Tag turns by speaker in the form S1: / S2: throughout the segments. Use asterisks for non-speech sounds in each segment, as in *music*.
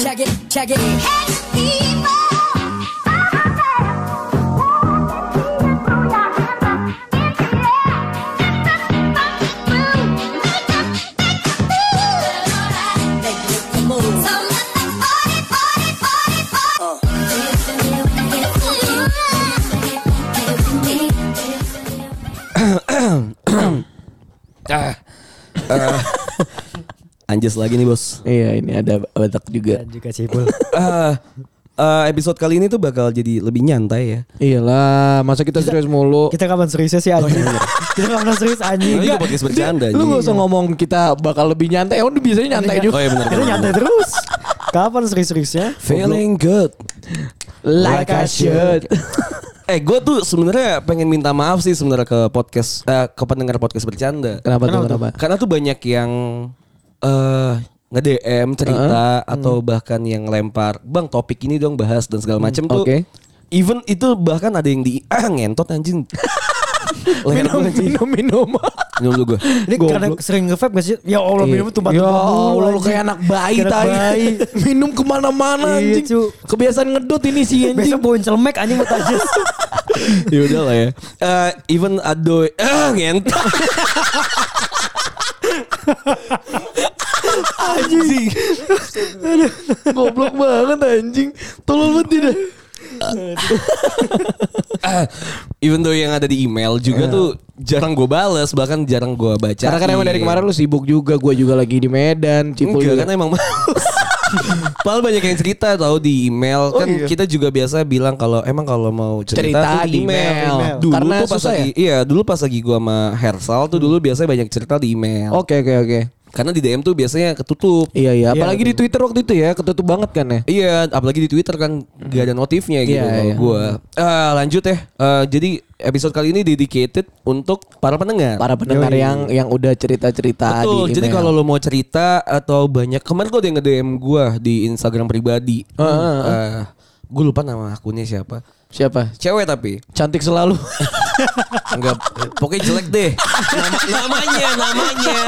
S1: Check it. Make it the move.
S2: Anjas lagi nih bos.
S3: Iya ini ada batak juga.
S4: Dan juga Cipul.
S2: Eh, eh, episode kali ini tuh bakal jadi lebih nyantai ya.
S3: Iyalah, masa kita serius mulu.
S4: Kita kapan seriusnya sih anjing?
S3: Iya.
S4: Kita kapan serius anjing?
S2: Ini juga podcast
S3: Lu
S2: bercanda. anjing.
S3: gak usah ngomong kita bakal lebih nyantai. Emang biasanya nyantai
S2: Oh
S3: juga.
S2: iya benar.
S4: Kita nyantai terus. Kapan serius-seriusnya?
S2: Feeling good.
S3: Like I should.
S2: Eh gue tuh sebenarnya pengen minta maaf sih sebenarnya ke podcast eh, ke pendengar podcast bercanda.
S3: *laughs* Kenapa tuh?
S4: Kenapa tuh?
S3: Kenapa?
S2: Karena tuh banyak yang eh nge DM cerita atau bahkan yang lempar, bang topik ini dong bahas dan segala macam tuh.
S3: oke.
S2: Even itu bahkan ada yang di ah ngentot *laughs* anjing. Leher
S3: Minum,
S2: gua anjing.
S3: minum, minum.
S2: Minum dulu gue.
S4: Ini
S3: Goblok.
S4: karena sering nge-vape gak sih? Ya Allah
S3: Iya.
S4: minum tumpah
S3: Ya Allah, lu kayak anak bayi
S4: Kayak anak
S3: tai.
S4: bayi.
S3: *laughs* Minum kemana-mana
S4: Iya,
S3: anjing.
S4: cu.
S3: Kebiasaan ngedut ini sih anjing.
S4: Besok bawain celemek anjing mau
S3: *laughs*
S4: tajus.
S2: ya udah lah ya. Eh, even adoy ah ngentot. anjing.
S3: Goblok banget anjing. Tolol banget tidak.
S2: Ah, *coughs* even though yang ada di email juga tuh jarang gue bales bahkan jarang gue baca
S3: Iya. Karena kan emang dari kemarin lu sibuk juga, gue juga lagi di Medan, Cipul juga.
S2: enggak kan emang
S3: *laughs*
S2: males Padahal banyak yang cerita tahu di email kan kita juga biasa bilang kalau emang kalau mau cerita,
S3: Oh, iya. Cerita
S2: tuh Nah,
S3: di email.
S2: Dulu
S3: Karena
S2: tuh pas
S3: susah ya? Hmm.
S2: lagi iya dulu pas lagi gua sama Hersal tuh dulu biasanya banyak cerita di email.
S3: Oke oke oke.
S2: Karena di DM tuh biasanya ketutup.
S3: Iya iya. Apalagi di Twitter waktu itu ya ketutup banget kan ya.
S2: Iya, apalagi di Twitter kan gak ada notifnya gitu
S3: Iya,
S2: kalau
S3: iya.
S2: gua. Eh, lanjut ya. Eh, jadi episode kali ini dedicated untuk para pendengar.
S3: Para pendengar yang yang udah cerita cerita
S2: Betul.
S3: di email.
S2: Jadi kalau lo mau cerita atau banyak kemarin tuh ada yang nge-DM gua di Instagram pribadi.
S3: Ah,
S2: Eh, gue lupa nama akunnya siapa.
S3: siapa?
S2: Cewek tapi
S3: Cantik selalu.
S2: enggak pokoknya jelek deh. Nama- namanya, namanya.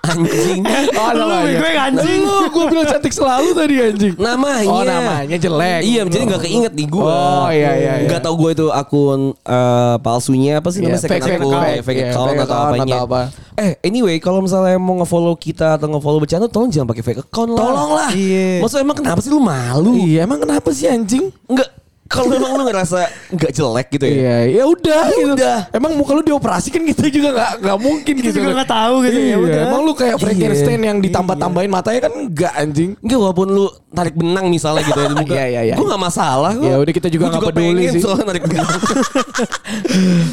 S2: Anjing.
S3: oh
S4: Lu
S3: namanya.
S4: bego yang anjing.
S3: Lu gue bilang cantik selalu tadi anjing.
S2: Namanya.
S3: Oh, namanya jelek.
S2: Iya, jadi nggak keinget nih gua.
S3: Oh, iya, iya, iya.
S2: Nggak tahu gua itu akun eh, palsunya apa sih
S3: Iya,
S2: namanya second
S3: fake
S2: account,
S3: account.
S2: eh, fake
S3: Iya,
S2: account
S3: fake
S2: atau
S3: account
S2: apanya.
S3: atau apa.
S2: Eh, anyway, kalau misalnya mau nge-follow kita atau nge-follow bercanda tolong jangan pakai fake account lah.
S3: Tolong lah.
S4: Iya.
S2: Maksudnya emang kenapa sih lu malu?
S3: Iya emang kenapa sih anjing?
S2: Enggak. Kalau *laughs* memang lu ngerasa enggak jelek gitu ya.
S3: Iya, ya udah gitu. Emang muka lu dioperasi kan kita juga nggak nggak mungkin
S4: Kita
S3: gitu.
S4: juga
S3: kan.
S4: nggak tahu gitu, ya
S3: Iya,
S4: udah.
S3: Emang lu kayak Frankenstein yang ditambah-tambahin matanya kan enggak anjing.
S2: Enggak walaupun lu tarik benang misalnya gitu ya di muka.
S3: *laughs* Iya, iya, iya.
S2: Gue gak masalah. Gua,
S3: Ya udah, kita juga
S2: gua
S3: nggak peduli
S2: pengen
S3: sih.
S2: Soalnya tarik
S3: *laughs*
S2: benang.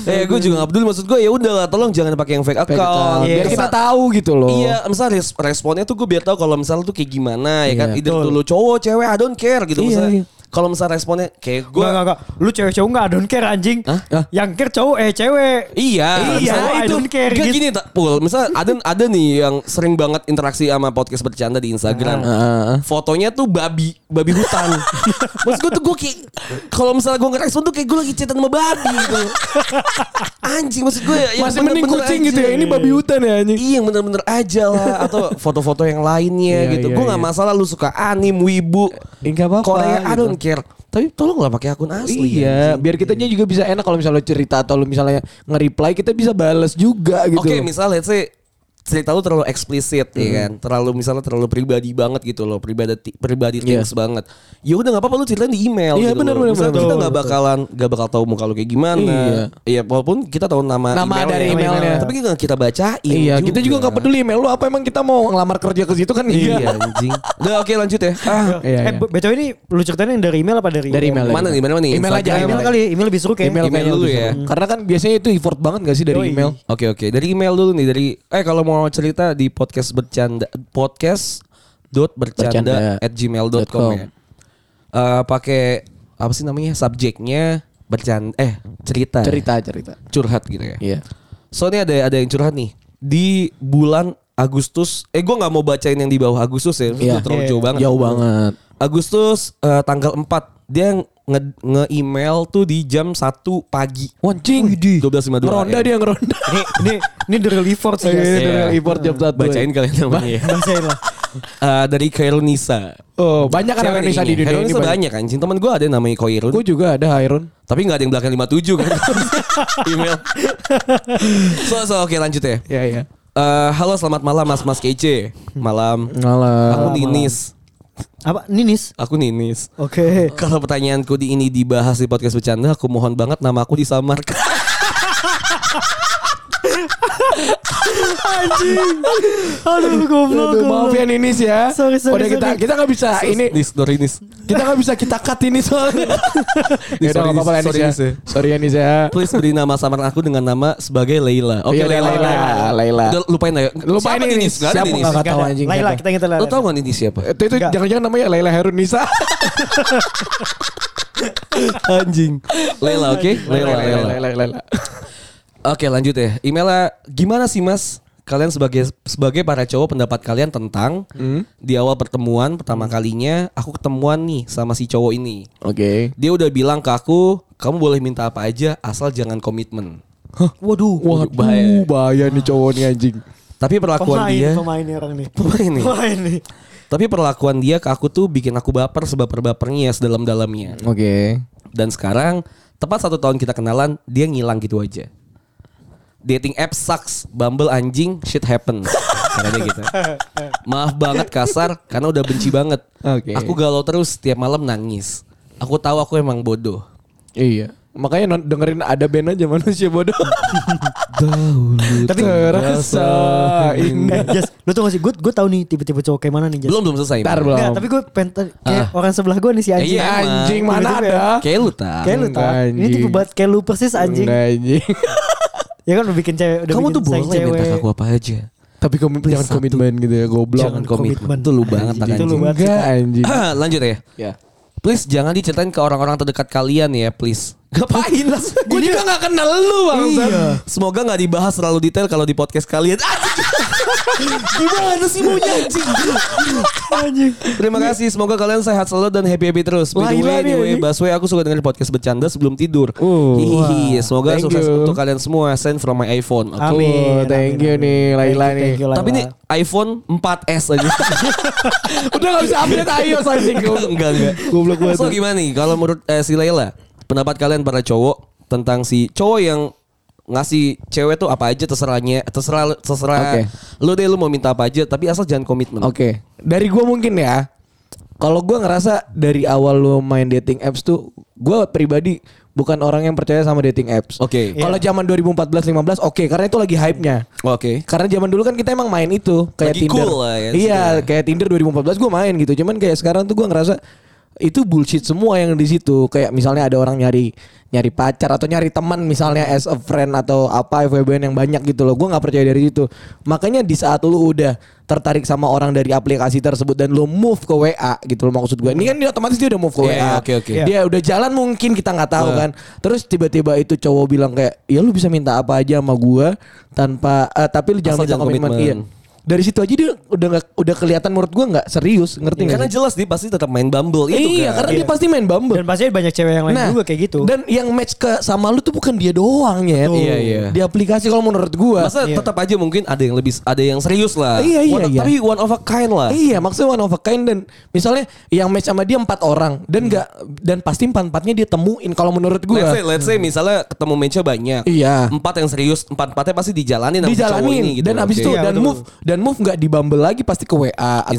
S2: eh gue juga gak peduli maksud gue ya udah lah tolong jangan pakai yang fake account.
S3: Fake account.
S2: Iya.
S3: Biar kita
S2: Kesan-
S3: tahu gitu loh.
S2: Iya, misalnya res- responnya tuh gue biar tahu kalau misalnya tuh kayak gimana ya kan.
S3: Iya.
S2: Either tuh lu cowok, cewek, I don't care gitu.
S3: Iya,
S2: Misalnya
S3: iya.
S2: kalau misalnya responnya kayak gue
S4: Gak, gak, gak. Lu cewek cowok gak, I don't care anjing.
S2: Hah? Hah?
S4: Yang care cowok, eh cewek.
S2: Iya,
S4: Iya,
S2: misalnya
S4: I
S2: itu
S4: don't care,
S2: Gak
S4: gitu.
S2: gini tak pul. Misal ada ada nih yang sering banget interaksi sama podcast bercanda di
S3: Ah,
S2: Instagram.
S3: Heeh.
S2: Fotonya tuh babi, babi
S3: *laughs*
S2: hutan. Maksud gue tuh gue kayak kalau misalnya gue ngerespon tuh kayak gue lagi cetan sama babi gitu. Anjing maksud gue ya, yang
S3: Masih mending
S2: bener-bener
S3: kucing
S2: aja.
S3: gitu ya. Ini babi hutan ya anjing.
S2: Iya yang bener-bener aja lah Atau foto-foto yang lainnya
S3: Iya,
S2: gitu
S3: iya,
S2: Gue gak
S3: iya.
S2: masalah lu suka anim, wibu
S3: Eh, nggak apa-apa,
S2: Korea, I
S3: gitu.
S2: don't care Tapi tolong lah pakai akun asli
S3: Iya,
S2: anjing.
S3: biar kitanya juga bisa enak kalau misalnya lo cerita atau lo misalnya nge-reply kita bisa bales juga gitu. Mm-hmm.
S2: Oke, misalnya let's say cerita lu terlalu eksplisit ya kan. Terlalu misalnya terlalu pribadi banget gitu loh, pribadi pribadi
S3: Iya.
S2: things banget. Ya udah nggak apa-apa lu ceritain di email
S3: Iya,
S2: gitu.
S3: bener,
S2: loh.
S3: bener,
S2: Misalnya
S3: bener,
S2: kita
S3: betul,
S2: nggak bakalan nggak bakal tahu muka lu kayak gimana.
S3: Iya.
S2: Iya, walaupun kita tahu nama,
S3: Nama dari emailnya.
S2: Tapi kita nggak kita bacain.
S3: iya, kita juga nggak peduli email lo apa emang kita mau ngelamar kerja ke situ kan
S2: Iya anjing. Udah oke lanjut ya. Ah,
S3: Iya,
S4: Eh,
S3: iya.
S4: be- BTW ini lu ceritain yang dari email apa dari
S3: Dari email.
S2: mana nih? Mana
S3: Email
S2: nih?
S3: ya. aja,
S2: Instagram?
S4: Email kali, email lebih seru
S3: *laughs*
S4: kayaknya.
S3: Email,
S2: Email
S3: kayaknya
S2: dulu
S3: lebih
S2: ya. Nah.
S3: seru. Karena kan biasanya itu effort banget gak sih dari
S4: Yoi.
S3: email?
S2: Oke oke dari email dulu nih dari eh kalau mau cerita di podcast bercanda podcast dot bercanda
S3: Bercanda.
S2: at gmail.com ya. Eh, pakai apa sih namanya subjeknya bercanda eh cerita ya.
S3: Cerita, cerita.
S2: curhat gitu ya.
S3: Iya.
S2: So ini ada ada yang curhat nih di bulan Agustus eh gue nggak mau bacain yang di bawah Agustus ya itu
S3: Iya.
S2: terlalu
S4: Iya,
S2: jauh banget.
S3: Jauh banget.
S2: Agustus eh, tanggal 4 dia nge- nge-email tuh di jam 1 pagi.
S3: Wancing.
S2: 12.52
S3: Ngeronda
S2: AM.
S3: dia ngeronda.
S4: Ini, ini, ini the real effort sih guys.
S3: Iya. Dari effort jam satu,
S2: Bacain
S3: ya.
S2: kalian namanya. ya.
S4: Bacain lah.
S2: Eh, dari Kairunisa.
S3: Oh, banyak kan orang Indonesia di dunia ini.
S2: Kairunisa
S3: banyak.
S2: banyak kan. Cinta teman gue ada yang namanya Koirun.
S3: Gue juga ada Iron.
S2: Tapi nggak ada yang belakang 57
S3: *laughs*
S2: kan. Email. so, so oke lanjut ya.
S3: Iya, iya.
S2: Eh, halo selamat malam Mas Mas Kece. Malam. Aku
S3: Malah.
S2: Ninis.
S4: Apa? Ninis?
S2: Aku Ninis.
S4: Oke.
S2: Kalau pertanyaanku di ini dibahas di podcast bercanda, aku mohon banget nama aku disamarkan.
S4: Anjing. Aduh goblok.
S3: Aduh, maaf ya Ninis ya.
S4: Sorry,
S3: Udah
S4: sorry,
S3: kita
S4: sorry.
S3: kita nggak bisa ini
S2: Nis, Dorinis.
S3: kita nggak bisa kita cut ini soalnya.
S2: *laughs*
S3: ya udah
S2: Sorry,
S3: nggak apa-apa lah,
S2: sorry,
S3: Nis ya.
S2: Nis ya.
S3: Sorry ya Nis ya.
S2: Please beri nama samaran aku dengan nama sebagai Leila. Oke,
S3: Iya,
S2: Leila.
S3: Leila, Leila.
S2: Udah lupain ayo.
S3: Lupain
S2: siapa
S3: ini.
S2: Ninis? Gak ada
S3: Siapa
S2: Ninis.
S3: nggak
S4: Gak
S3: tahu
S4: ada.
S3: anjing.
S4: Laila
S3: nggak
S4: kita kita Laila.
S2: Lo tau gak Ninis siapa?
S3: tahu. Itu itu
S4: Nggak.
S3: jangan-jangan namanya Laila Herun
S4: *laughs*
S3: Nisa.
S2: Anjing. Leila, oke? Leila, Leila.
S3: Laila.
S2: Oke, lanjut ya. Emailnya gimana sih, Mas? Kalian sebagai sebagai para cowok pendapat kalian tentang
S3: Hmm?
S2: di awal pertemuan pertama kalinya aku ketemuan nih sama si cowok ini.
S3: Oke.
S2: Dia udah bilang ke aku, kamu boleh minta apa aja asal jangan komitmen.
S4: Waduh.
S3: Waduh, bahaya.
S2: bahaya.
S3: nih cowok nih anjing.
S2: Tapi perlakuan
S4: Pemain,
S2: dia,
S4: pemain nih orang nih.
S2: Pemain nih.
S4: Pemain nih.
S2: tapi perlakuan dia ke aku tuh bikin aku baper sebaper-bapernya sedalam-dalamnya.
S3: Oke.
S2: Dan sekarang tepat satu tahun kita kenalan, dia ngilang gitu aja. Dating app sucks, Bumble anjing, shit happen.
S4: *laughs*
S2: Katanya gitu. Maaf banget kasar karena udah benci banget.
S3: Oke.
S2: Aku galau terus tiap malam nangis. Aku tahu aku emang bodoh.
S3: Iya. Makanya non- dengerin ada band aja manusia bodoh. *laughs*
S2: Dahulu
S3: Tapi terasa
S4: Eh,
S3: indah.
S4: Jas, lu tuh ngasih gue gue tahu nih tipe-tipe cowok kayak mana nih Jas.
S2: Belum belum selesai.
S3: Ntar
S2: Bang.
S3: belum.
S4: Nggak, tapi gue pengen tanya, kayak
S2: Ah.
S4: orang sebelah gue nih si anjing.
S2: Iya,
S3: Eh, anjing mana
S4: Tiba-tiba.
S3: ada?
S2: Kayak lu tak.
S4: Kayak lu tau.
S3: Anjing.
S4: Ini tipe banget kayak lu persis Eh, anjing.
S3: Enggak, anjing. *laughs*
S4: Ya kan udah bikin cewek udah
S2: Kamu
S4: bikin
S2: tuh
S4: sayang
S3: ya,
S2: boleh minta ke aku apa aja.
S3: Tapi komi-
S2: Please,
S3: jangan
S2: satu.
S3: komitmen gitu ya, goblok.
S2: Jangan komitmen.
S4: komitmen.
S2: Itu lu banget tak
S4: Itu lu
S2: anjing.
S4: banget.
S3: Enggak anjing.
S4: Iya.
S2: *clears throat* Lanjut ya.
S3: Ya.
S2: Please jangan diceritain ke orang-orang terdekat kalian ya, please. Ngapain *laughs* lah?
S3: Gue juga gak kenal lu bang.
S2: Iya. Semoga nggak dibahas terlalu detail kalau di podcast kalian. Ah! Gimana sih maunya
S3: *laughs*
S2: anjing?
S4: Anjing.
S2: Terima kasih. Semoga kalian sehat selalu dan happy happy terus. By the
S3: Laila
S2: way,
S3: nih,
S2: anyway,
S3: anjing.
S2: Baswe aku suka dengerin podcast bercanda sebelum tidur.
S3: Uh.
S2: Hihihi. Semoga
S3: Thank
S2: sukses
S3: you.
S2: untuk kalian semua. Send from my iPhone. Oke.
S4: Amin.
S3: thank you
S4: amin.
S3: nih, Laila
S4: Thank you,
S3: nih.
S4: thank you, Laila.
S2: Tapi ini iPhone 4S aja.
S3: *laughs* Udah gak bisa update ayo anjing.
S2: *laughs* enggak enggak.
S3: Goblok banget.
S2: So gimana nih kalau menurut eh, si Laila pendapat kalian para cowok tentang si cowok yang ngasih cewek tuh apa aja terserahnya terserah terserah
S3: Oke.
S2: lu deh lu mau minta apa aja tapi asal jangan komitmen.
S3: Oke, dari gue mungkin ya. Kalau gue ngerasa dari awal lo main dating apps tuh, gue pribadi bukan orang yang percaya sama dating apps.
S2: Oke.
S3: Kalau zaman 2014-15, oke, karena itu lagi hype-nya.
S2: Oke.
S3: Karena zaman dulu kan kita emang main itu kayak
S2: Lagi
S3: Tinder.
S2: cool lah ya,
S3: iya,
S2: sebenarnya.
S3: kayak Tinder 2014 gue main gitu. Cuman kayak sekarang tuh gue ngerasa itu bullshit semua yang di situ. Kayak misalnya ada orang nyari nyari pacar atau nyari teman misalnya as a friend atau apa FWB yang banyak gitu loh. Gue nggak percaya dari situ. Makanya di saat lu udah tertarik sama orang dari aplikasi tersebut dan lu move ke WA gitu loh maksud gue. Ini kan dia otomatis dia udah move ke
S2: Iya,
S3: WA.
S2: oke, Iya. oke.
S3: Dia udah jalan mungkin kita nggak tahu kan. Terus tiba-tiba itu cowok bilang kayak, "Ya lu bisa minta apa aja sama gue tanpa eh, tapi lu jangan
S2: Asal
S3: minta
S2: jangan
S3: komitmen." Iya.
S2: komitmen.
S3: Dari situ aja dia udah nggak udah kelihatan menurut gua nggak serius, ngerti nggak?
S2: Iya, Karena
S3: sih?
S2: jelas dia pasti tetap main Bumble itu
S3: Iya,
S2: kan.
S3: karena
S4: Iya.
S3: dia pasti main Bumble. Nah,
S4: Dan pasti banyak cewek yang lain juga kayak gitu.
S3: Dan yang match ke sama lu tuh bukan dia doang ya.
S2: Iya, iya.
S3: Di aplikasi kalau menurut gua.
S2: Masa tetap aja mungkin ada yang lebih ada yang serius lah.
S3: Iya, iya,
S2: One-
S3: iya.
S2: Tapi one of a kind lah.
S3: Iya, maksudnya one of a kind dan misalnya yang match sama dia empat orang dan nggak dan pasti empat empatnya dia temuin kalau menurut
S2: Let's say,
S3: gua.
S2: let's say misalnya ketemu matchnya banyak.
S3: Iya.
S2: Empat yang serius, empat empatnya pasti dijalanin sama si cowok
S3: dijalanin
S2: ini gitu
S3: dan
S2: loh.
S3: abis itu
S2: Oke.
S4: Iya,
S3: dan
S4: betul.
S3: move dan move nggak di Bumble lagi pasti ke WA atau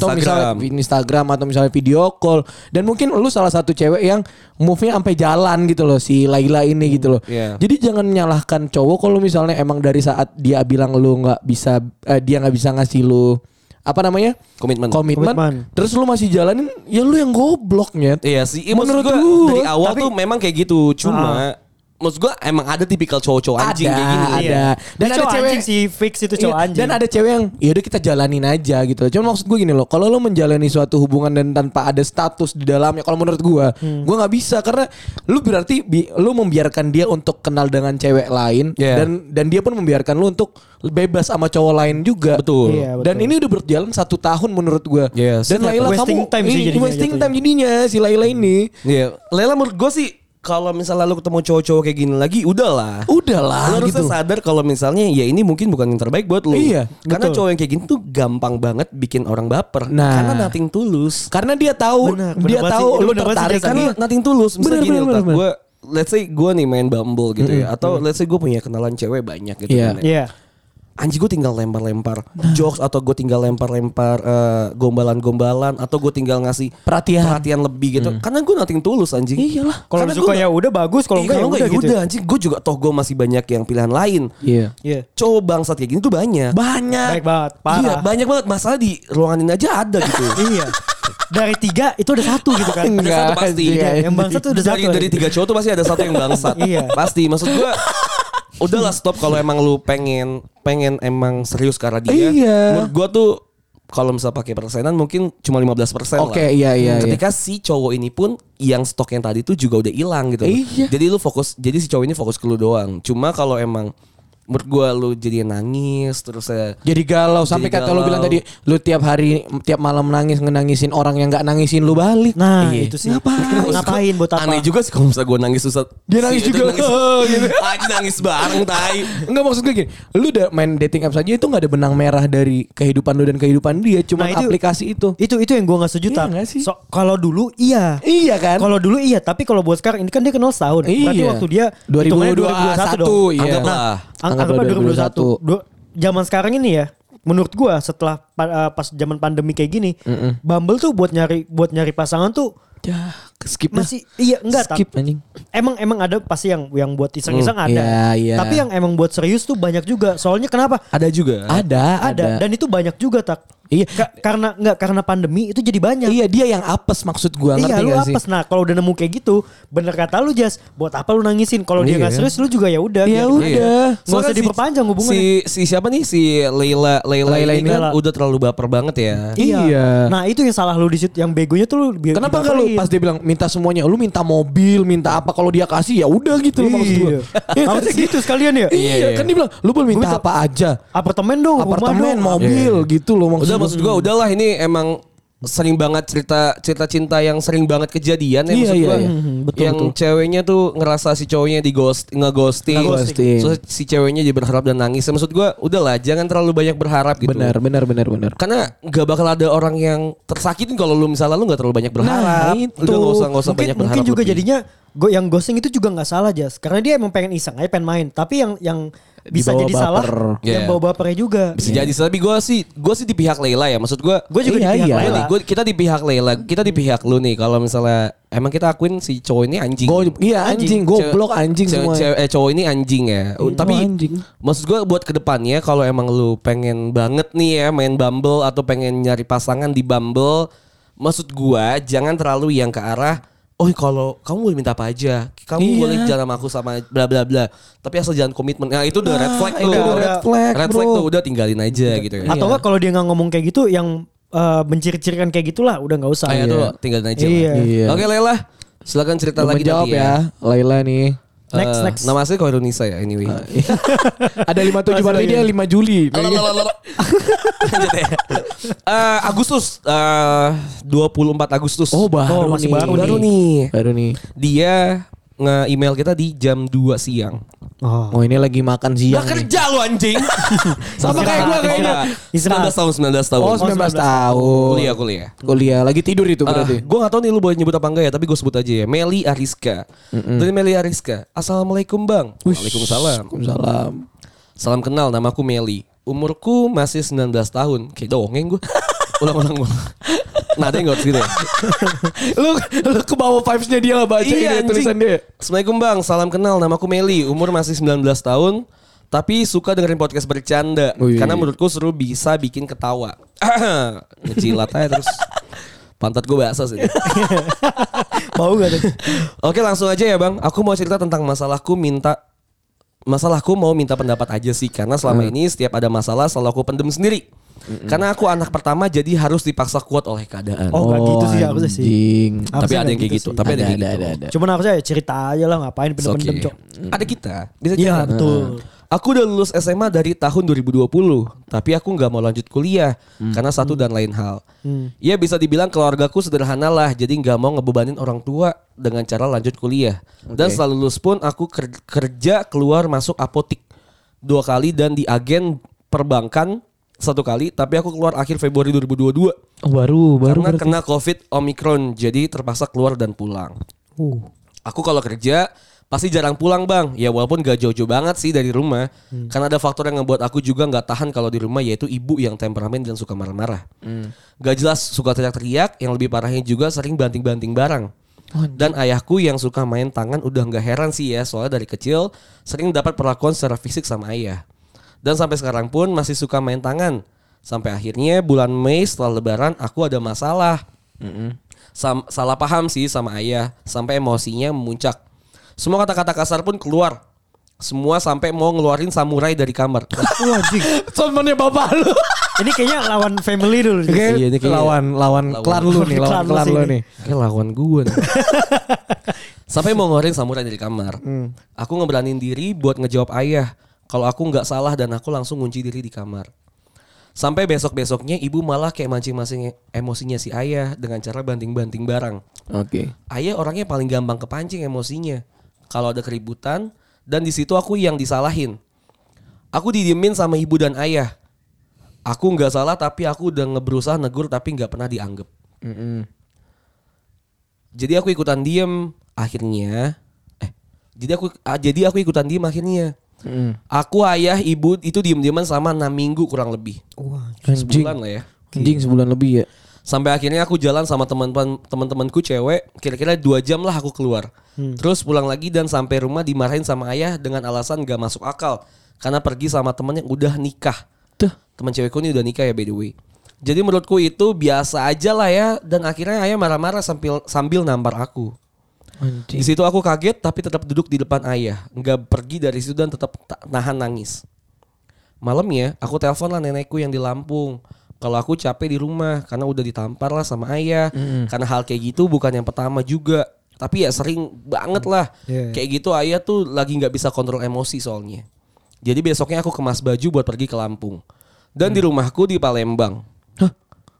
S3: misalnya
S2: Instagram.
S3: di Instagram atau misalnya video call dan mungkin lu salah satu cewek yang move-nya sampai jalan gitu loh si Laila ini gitu loh
S2: iya.
S3: jadi jangan menyalahkan cowok kalau misalnya emang dari saat dia bilang lu nggak bisa eh, dia nggak bisa ngasih lu apa namanya
S2: Komitmen.
S3: komitmen,
S4: Komitmen.
S3: terus lu masih jalanin ya lu yang gobloknya
S2: Iya sih, Iya, maksud
S3: Menurut
S2: gua
S3: gua. Ah.
S2: dari awal
S4: Tapi-
S2: tuh memang kayak gitu. Cuma maksud gua emang ada tipikal cowok-cowok anjing
S3: ada,
S2: kayak gini.
S3: ada. Dan ada
S4: Dia Iya. cowok
S3: cewek
S4: anjing sih, fix itu cowok
S3: Iya,
S4: anjing.
S3: Dan ada cewek yang yaudah kita jalanin aja gitu loh. Cuma maksud gue gini loh, kalau lo menjalani suatu hubungan dan tanpa ada status di dalamnya, kalau menurut gue,
S4: Hmm.
S3: gue nggak bisa karena lu berarti bi- lu membiarkan dia untuk kenal dengan cewek lain
S2: Iya.
S3: dan dan dia pun membiarkan lu untuk bebas sama cowok lain juga.
S2: Betul.
S4: Iya, betul.
S3: Dan ini udah berjalan satu tahun menurut gue.
S2: Yes.
S3: Dan Laila
S4: Wasting
S3: kamu
S4: time sih
S3: ini
S4: jadinya
S3: wasting
S4: jatuhnya.
S3: time jadinya si Laila ini.
S2: Iya, Lela menurut gua sih kalau misalnya lu ketemu cowok-cowok kayak gini lagi, udahlah.
S3: Udahlah
S2: Lu
S3: gitu.
S2: harusnya sadar kalau misalnya ya ini mungkin bukan yang terbaik buat lu.
S3: Iya,
S2: Karena
S4: betul.
S2: cowok yang kayak gini tuh gampang banget bikin orang baper.
S3: Nah.
S2: Karena nothing tulus.
S3: Karena dia tahu
S4: Benar, benar
S3: dia
S4: banget
S3: tahu
S4: sih. Itu
S3: lu
S4: benar banget sih,
S3: tertarik
S4: Jason.
S3: karena
S2: Karena nothing tulus. Misalnya
S3: Bener,
S2: gini
S3: bener,
S2: otak
S3: bener.
S2: gue, let's say gue nih main Bumble gitu ya. Atau let's say gue punya kenalan cewek banyak gitu
S3: Iya.
S2: kan ya.
S4: Iya.
S2: Anjing gue tinggal lempar-lempar
S3: Nah.
S2: jokes atau gue tinggal lempar-lempar eh, gombalan-gombalan atau gue tinggal ngasih
S3: Perhatian. Hmm.
S2: perhatian lebih gitu. Karena gue nothing tulus anjing.
S3: Iyalah.
S4: Kalau
S2: Karena
S4: lu suka
S2: gua- Iya,
S4: ya udah bagus, kalau
S2: Ih,
S4: enggak ya udah gitu.
S2: udah anjing gue juga toh gue masih banyak yang pilihan lain.
S3: Iya.
S4: Iya.
S2: Cowok bangsat kayak gini tuh banyak.
S3: Banyak.
S4: Baik banget, parah.
S2: Iya, banyak banget masalah di ruangan ini aja ada gitu.
S3: *laughs*
S4: iya. Dari tiga itu ada satu gitu kan.
S2: Ada satu
S3: Enggak,
S2: pasti.
S3: iya.
S4: Yang bangsat tuh udah
S2: dari,
S4: satu.
S2: dari
S3: eh.
S2: tiga cowok tuh pasti ada satu yang
S3: *laughs*
S2: bangsat.
S4: Iya.
S2: Pasti. Maksud gue udahlah stop kalau emang lu pengen pengen emang serius karena dia.
S3: Iya.
S2: Menurut gue tuh kalau misal pakai persenan mungkin cuma 15% lah.
S3: Oke, iya, iya, iya.
S2: Ketika si cowok ini pun yang stok yang tadi tuh juga udah hilang gitu. loh.
S3: Iya.
S2: Jadi lu fokus jadi si cowok ini fokus ke lu doang. Cuma kalau emang menurut gue lu jadi nangis terus ya
S3: Jadi galau sampai
S2: Jadi
S3: kata lu
S2: galau.
S3: bilang tadi lu tiap hari tiap malam nangis ngenangisin orang yang nggak nangisin lu balik.
S4: Nah,
S3: Iya.
S4: itu
S3: *laughs*
S4: sih.
S3: Ngapain?
S4: Ngapain buat apa?
S2: Aneh juga sih kalau misalnya gue nangis susah. Iya,
S3: Dia nangis juga. Oh, *laughs* gitu.
S2: Aja nangis bareng tai.
S3: Enggak maksud gue gini, lu udah main dating apps aja itu nggak ada benang merah dari kehidupan lu dan kehidupan dia, cuma
S4: Nah, itu-
S3: aplikasi itu.
S4: Itu itu yang gua nggak setuju
S3: Iya
S4: Tar.
S3: nggak sih?
S4: So, kalau dulu iya.
S3: Iya kan?
S4: Kalau dulu iya, tapi kalau buat sekarang ini kan dia kenal setahun. Berarti
S3: Iya.
S4: waktu dia
S3: 2021
S4: dong.
S3: iya.
S2: Anggaplah.
S4: Ang-
S3: Anggaplah
S4: Anggaplah
S3: 2021.
S4: 2021. Dua- Zaman sekarang ini ya, menurut gua setelah pa- eh, pas zaman pandemi kayak gini, Bumble tuh buat nyari buat nyari pasangan tuh
S3: Ya, skip dah.
S4: masih iya enggak Tar.
S3: skip anjing.
S4: Emang emang ada pasti yang yang buat iseng-iseng
S3: Hmm,
S4: ada.
S3: iya, iya.
S4: Tapi yang emang buat serius tuh banyak juga. Soalnya kenapa?
S2: Ada juga.
S3: Ada, ada.
S4: Ada. Dan itu banyak juga tak.
S3: Iya.
S4: Ka- karena enggak karena pandemi itu jadi banyak.
S3: Iya, dia yang apes maksud gua, ngerti
S4: iya lu
S3: nggak sih?
S4: apes nah kalau udah nemu kayak gitu bener kata lu Jas buat apa lu nangisin kalau dia
S3: Iya.
S4: nggak serius lu juga ya udah
S3: Ya
S4: biarin
S3: udah.
S4: aja. nggak
S2: Soalnya
S4: usah
S2: si-
S4: diperpanjang hubungan
S2: Si si siapa nih si Leila Leila,
S3: Leila ini.
S2: ini kan udah terlalu baper banget ya.
S3: Iya.
S4: nah itu yang salah lu di situ yang begonya tuh lu bi-
S3: Kenapa enggak lu
S4: dibaperin.
S3: pas dia bilang minta semuanya, lu minta mobil, minta apa kalau dia kasih ya udah gitu loh maksud gua. kan
S4: iya harusnya gitu sekalian ya
S3: Iya,
S2: Iya,
S3: kan dia bilang lu boleh minta
S4: Gua minta-
S3: apa aja.
S4: apartemen
S3: Oh,
S4: dong rumah
S3: Apartemen,
S4: dong.
S3: mobil gitu loh maksud
S2: Iya,
S3: gua.
S2: Udah maksud gua udahlah ini emang sering banget cerita cerita cinta yang sering banget kejadian ya
S3: Iya,
S2: maksud
S3: iya,
S2: gua.
S3: iya. Mhm, betul,
S2: yang
S3: betul.
S2: ceweknya tuh ngerasa si cowoknya di ghost ngeghosting.
S3: Ngeghosting.
S2: Terus si ceweknya jadi berharap dan nangis. Ya, maksud gua udahlah jangan terlalu banyak berharap gitu.
S3: Benar, benar, benar, benar.
S2: Karena nggak bakal ada orang yang tersakitin kalau lu misalnya lu nggak terlalu banyak
S3: Nah,
S2: berharap.
S3: itu.
S2: Udah nggak usah nggak usah
S4: mungkin,
S2: banyak berharap.
S4: mungkin juga
S2: lebih.
S4: jadinya go, yang ghosting itu juga nggak salah Jas karena dia emang pengen iseng aja pengen main tapi yang yang bisa
S3: Dibawa
S4: jadi salah
S3: baper.
S4: yang
S2: Iya.
S4: bawa bapernya juga
S2: bisa jadi sih, tapi gue sih gue sih di pihak Leila ya maksud gue
S4: gue juga
S3: Iya,
S4: di pihak
S3: iya.
S4: Laila.
S2: nih gua, kita di pihak Leila kita di pihak lu nih kalau misalnya emang kita akuin si cowok ini anjing
S3: Go, iya anjing, goblok anjing
S2: Cewek-
S3: semua.
S2: cewek- eh, cowok ini anjing ya Uh, tapi
S3: anjing.
S2: maksud gue buat kedepannya kalau emang lu pengen banget nih ya main Bumble atau pengen nyari pasangan di Bumble maksud gue jangan terlalu yang ke arah Oh kalau kamu boleh minta apa aja, kamu
S3: Iya.
S2: boleh jalan sama aku sama bla bla bla. Tapi asal jangan komitmen. Nah itu udah red flag
S3: Ah, itu
S2: tuh.
S3: udah red flag,
S2: Red flag
S3: bro.
S2: tuh udah tinggalin aja gitu ya.
S4: Atau enggak kalau dia nggak ngomong kayak gitu yang eh, menciri-cirikan kayak gitulah udah nggak usah.
S2: Ah, ya tuh tinggalin aja. lah.
S4: Iya.
S3: Iya.
S2: Oke Lela, silakan cerita
S3: Lu
S2: lagi iya.
S3: menjawab
S2: nanti
S3: ya, Laila
S2: *laughs*
S3: nih.
S2: Eh,
S4: Next, next.
S2: Nama asli Koirunisa ya anyway.
S3: Ah. Ada 57 berarti dia 5 Juli.
S2: Lalalala. *laughs* Lanjut ya. Eh, Agustus eh, 24 Agustus.
S3: Oh, baru
S4: Oh, masih
S3: nih.
S4: baru
S2: baru nih.
S3: Baru nih.
S2: Dia nge-email kita di jam 2 siang.
S4: Oh.
S3: Oh, ini lagi makan siang.
S2: Gak
S3: nih.
S2: kerja lu anjing.
S3: *laughs*
S2: Sama kayak gua kayaknya. 19
S4: Istirahat.
S2: tahun 19 tahun.
S3: Oh, 19 tahun.
S2: Kuliah kuliah. Eh,
S3: Kuliah lagi tidur itu berarti.
S2: gue gak tau nih lu boleh nyebut apa enggak ya Tapi gue sebut aja ya Meli Ariska Dari Meli Ariska Assalamualaikum bang Waalaikumsalam
S3: Salam.
S2: Salam kenal namaku Meli Umurku masih 19 tahun Kayak dongeng
S3: *laughs*
S2: gue Ulang-ulang ulang. Nah ada yang gak harus gitu ya
S3: lu lu ke bawah vibes-nya dia lah baca
S2: Iya,
S3: ini tulisan
S2: anjing.
S3: dia.
S2: Assalamualaikum bang Salam kenal namaku Meli Umur masih 19 tahun Tapi suka dengerin podcast bercanda
S3: Wih.
S2: Karena menurutku seru bisa bikin ketawa *clears throat* Ngecilat aja
S3: *laughs*
S2: terus Pantat gue basah sih
S4: Mau gak tuh?
S2: Oke langsung aja ya bang. Aku mau cerita tentang masalahku minta masalahku mau minta pendapat aja sih karena selama ini setiap ada masalah selalu aku pendem sendiri. Karena aku anak pertama jadi harus dipaksa kuat oleh keadaan.
S4: Oh, nggak gitu sih harusnya sih.
S3: anjing.
S2: tapi ada
S4: harusnya
S2: yang
S4: nggak
S2: kayak
S4: gitu
S2: gitu, tapi ada, yang kayak
S3: Ada,
S2: gitu.
S3: ada, ada.
S4: Cuman harusnya ya cerita aja lah ngapain
S2: It's okay.
S4: pendem-pendem cok.
S2: Ada Mm. kita, bisa
S4: Iya
S2: cerita.
S4: betul.
S2: Aku udah lulus SMA dari tahun 2020, tapi aku nggak mau lanjut kuliah karena satu dan lain hal. Ya bisa dibilang keluargaku sederhana lah, jadi nggak mau ngebebanin orang tua dengan cara lanjut kuliah. Dan setelah lulus pun aku ker- kerja keluar masuk apotik dua kali dan di agen perbankan satu kali, tapi aku keluar akhir Februari 2022
S1: Oh, baru baru
S2: karena
S1: berarti.
S2: kena COVID Omicron, jadi terpaksa keluar dan pulang.
S4: Uh.
S2: Aku kalau kerja pasti jarang pulang bang. Ya walaupun gak jauh-jauh banget sih dari rumah. Karena ada faktor yang ngebuat aku juga nggak tahan kalau di rumah yaitu ibu yang temperamen dan suka marah-marah. Gak jelas suka teriak-teriak. Yang lebih parahnya juga sering banting-banting barang. Dan ayahku yang suka main tangan udah nggak heran sih ya soalnya dari kecil sering dapat perlakuan secara fisik sama ayah. Dan sampai sekarang pun masih suka main tangan. Sampai akhirnya bulan Mei setelah lebaran aku ada masalah. Sam- salah paham sih sama ayah sampai emosinya memuncak. Semua kata-kata kasar pun keluar. Semua sampai mau ngeluarin samurai dari kamar. *laughs* ya
S1: Temennya bapak lu.
S4: Ini kayaknya lawan family dulu.
S3: Oke,
S2: Iya, ini kayaknya-
S3: lawan lawan
S2: lawan-
S3: klan lu nih,
S2: *laughs*
S3: lawan
S4: Klan lu
S3: klan lu
S4: sini.
S3: nih.
S2: Kayak Eh, lawan gue nih. *laughs* Sampai mau ngeluarin samurai dari kamar. Aku ngeberanin diri buat ngejawab ayah. Kalau aku nggak salah dan aku langsung ngunci diri di kamar. Sampai besok-besoknya ibu malah kayak mancing-mancing emosinya si ayah dengan cara banting-banting barang.
S3: Oke.
S2: Ayah orangnya paling gampang kepancing emosinya. Kalau ada keributan dan di situ aku yang disalahin. Aku didiemin sama ibu dan ayah. Aku nggak salah tapi aku udah ngeberusaha negur tapi nggak pernah dianggap. Jadi aku ikutan diem akhirnya. Eh, jadi aku ah, jadi aku ikutan diem akhirnya. Aku ayah ibu itu diem-dieman sama enam minggu kurang lebih.
S4: Wah,
S3: Anjing.
S2: Sebulan lah ya.
S3: Anjing sebulan lebih ya.
S2: Sampai akhirnya aku jalan sama teman-teman teman-temanku cewek, kira-kira dua jam lah aku keluar. Terus pulang lagi dan sampai rumah dimarahin sama ayah dengan alasan gak masuk akal karena pergi sama temen yang udah nikah. Tuh, teman cewekku ini udah nikah ya by the way. Jadi menurutku itu biasa aja lah ya dan akhirnya ayah marah-marah sambil sambil nampar aku. Di situ aku kaget tapi tetap duduk di depan ayah, nggak pergi dari situ dan tetap ta- nahan nangis. Malamnya aku telepon lah nenekku yang di Lampung. Kalau aku capek di rumah karena udah ditampar lah sama ayah. Karena hal kayak gitu bukan yang pertama juga. Tapi ya sering banget lah.
S4: Iya, iya.
S2: Kayak gitu ayah tuh lagi nggak bisa kontrol emosi soalnya. Jadi besoknya aku kemas baju buat pergi ke Lampung. Dan di rumahku di Palembang.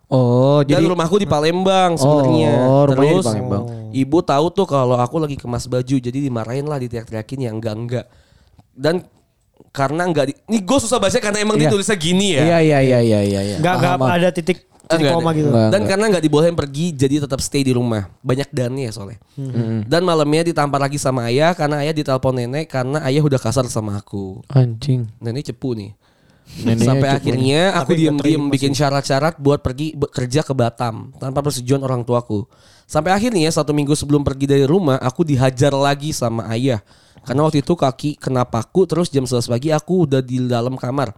S3: Oh,
S2: Dan
S3: jadi
S2: rumahku di Palembang sebenarnya.
S3: Oh, rumahnya di
S2: Terus
S3: Palembang.
S2: ibu tahu tuh kalau aku lagi kemas baju jadi dimarahin lah diteriak-teriakin yang enggak-enggak. Dan karena enggak di, nih gue susah bahasnya karena emang
S3: Iya.
S2: ditulisnya gini ya.
S3: Iya iya iya iya iya. iya.
S4: Gak,
S3: Paham, paham.
S4: ada titik titik
S2: Enggak
S4: koma
S2: ada.
S4: gitu.
S3: Enggak.
S2: Dan karena nggak dibolehin pergi jadi tetap stay di rumah. Banyak dannya ya soalnya.
S3: Mm-hmm.
S2: Dan malamnya ditampar lagi sama ayah karena ayah ditelepon nenek karena ayah udah kasar sama aku.
S3: anjing.
S2: Nenek cepu nih.
S3: Neneknya
S2: Sampai
S3: cepu
S2: akhirnya aku
S4: Tapi nggak
S2: diem-diem
S4: terima
S2: bikin syarat-syarat buat pergi bekerja ke Batam tanpa persetujuan orang tuaku. Sampai akhirnya satu minggu sebelum pergi dari rumah aku dihajar lagi sama ayah. Karena waktu itu kaki kena paku terus jam 11 pagi aku udah di dalam kamar.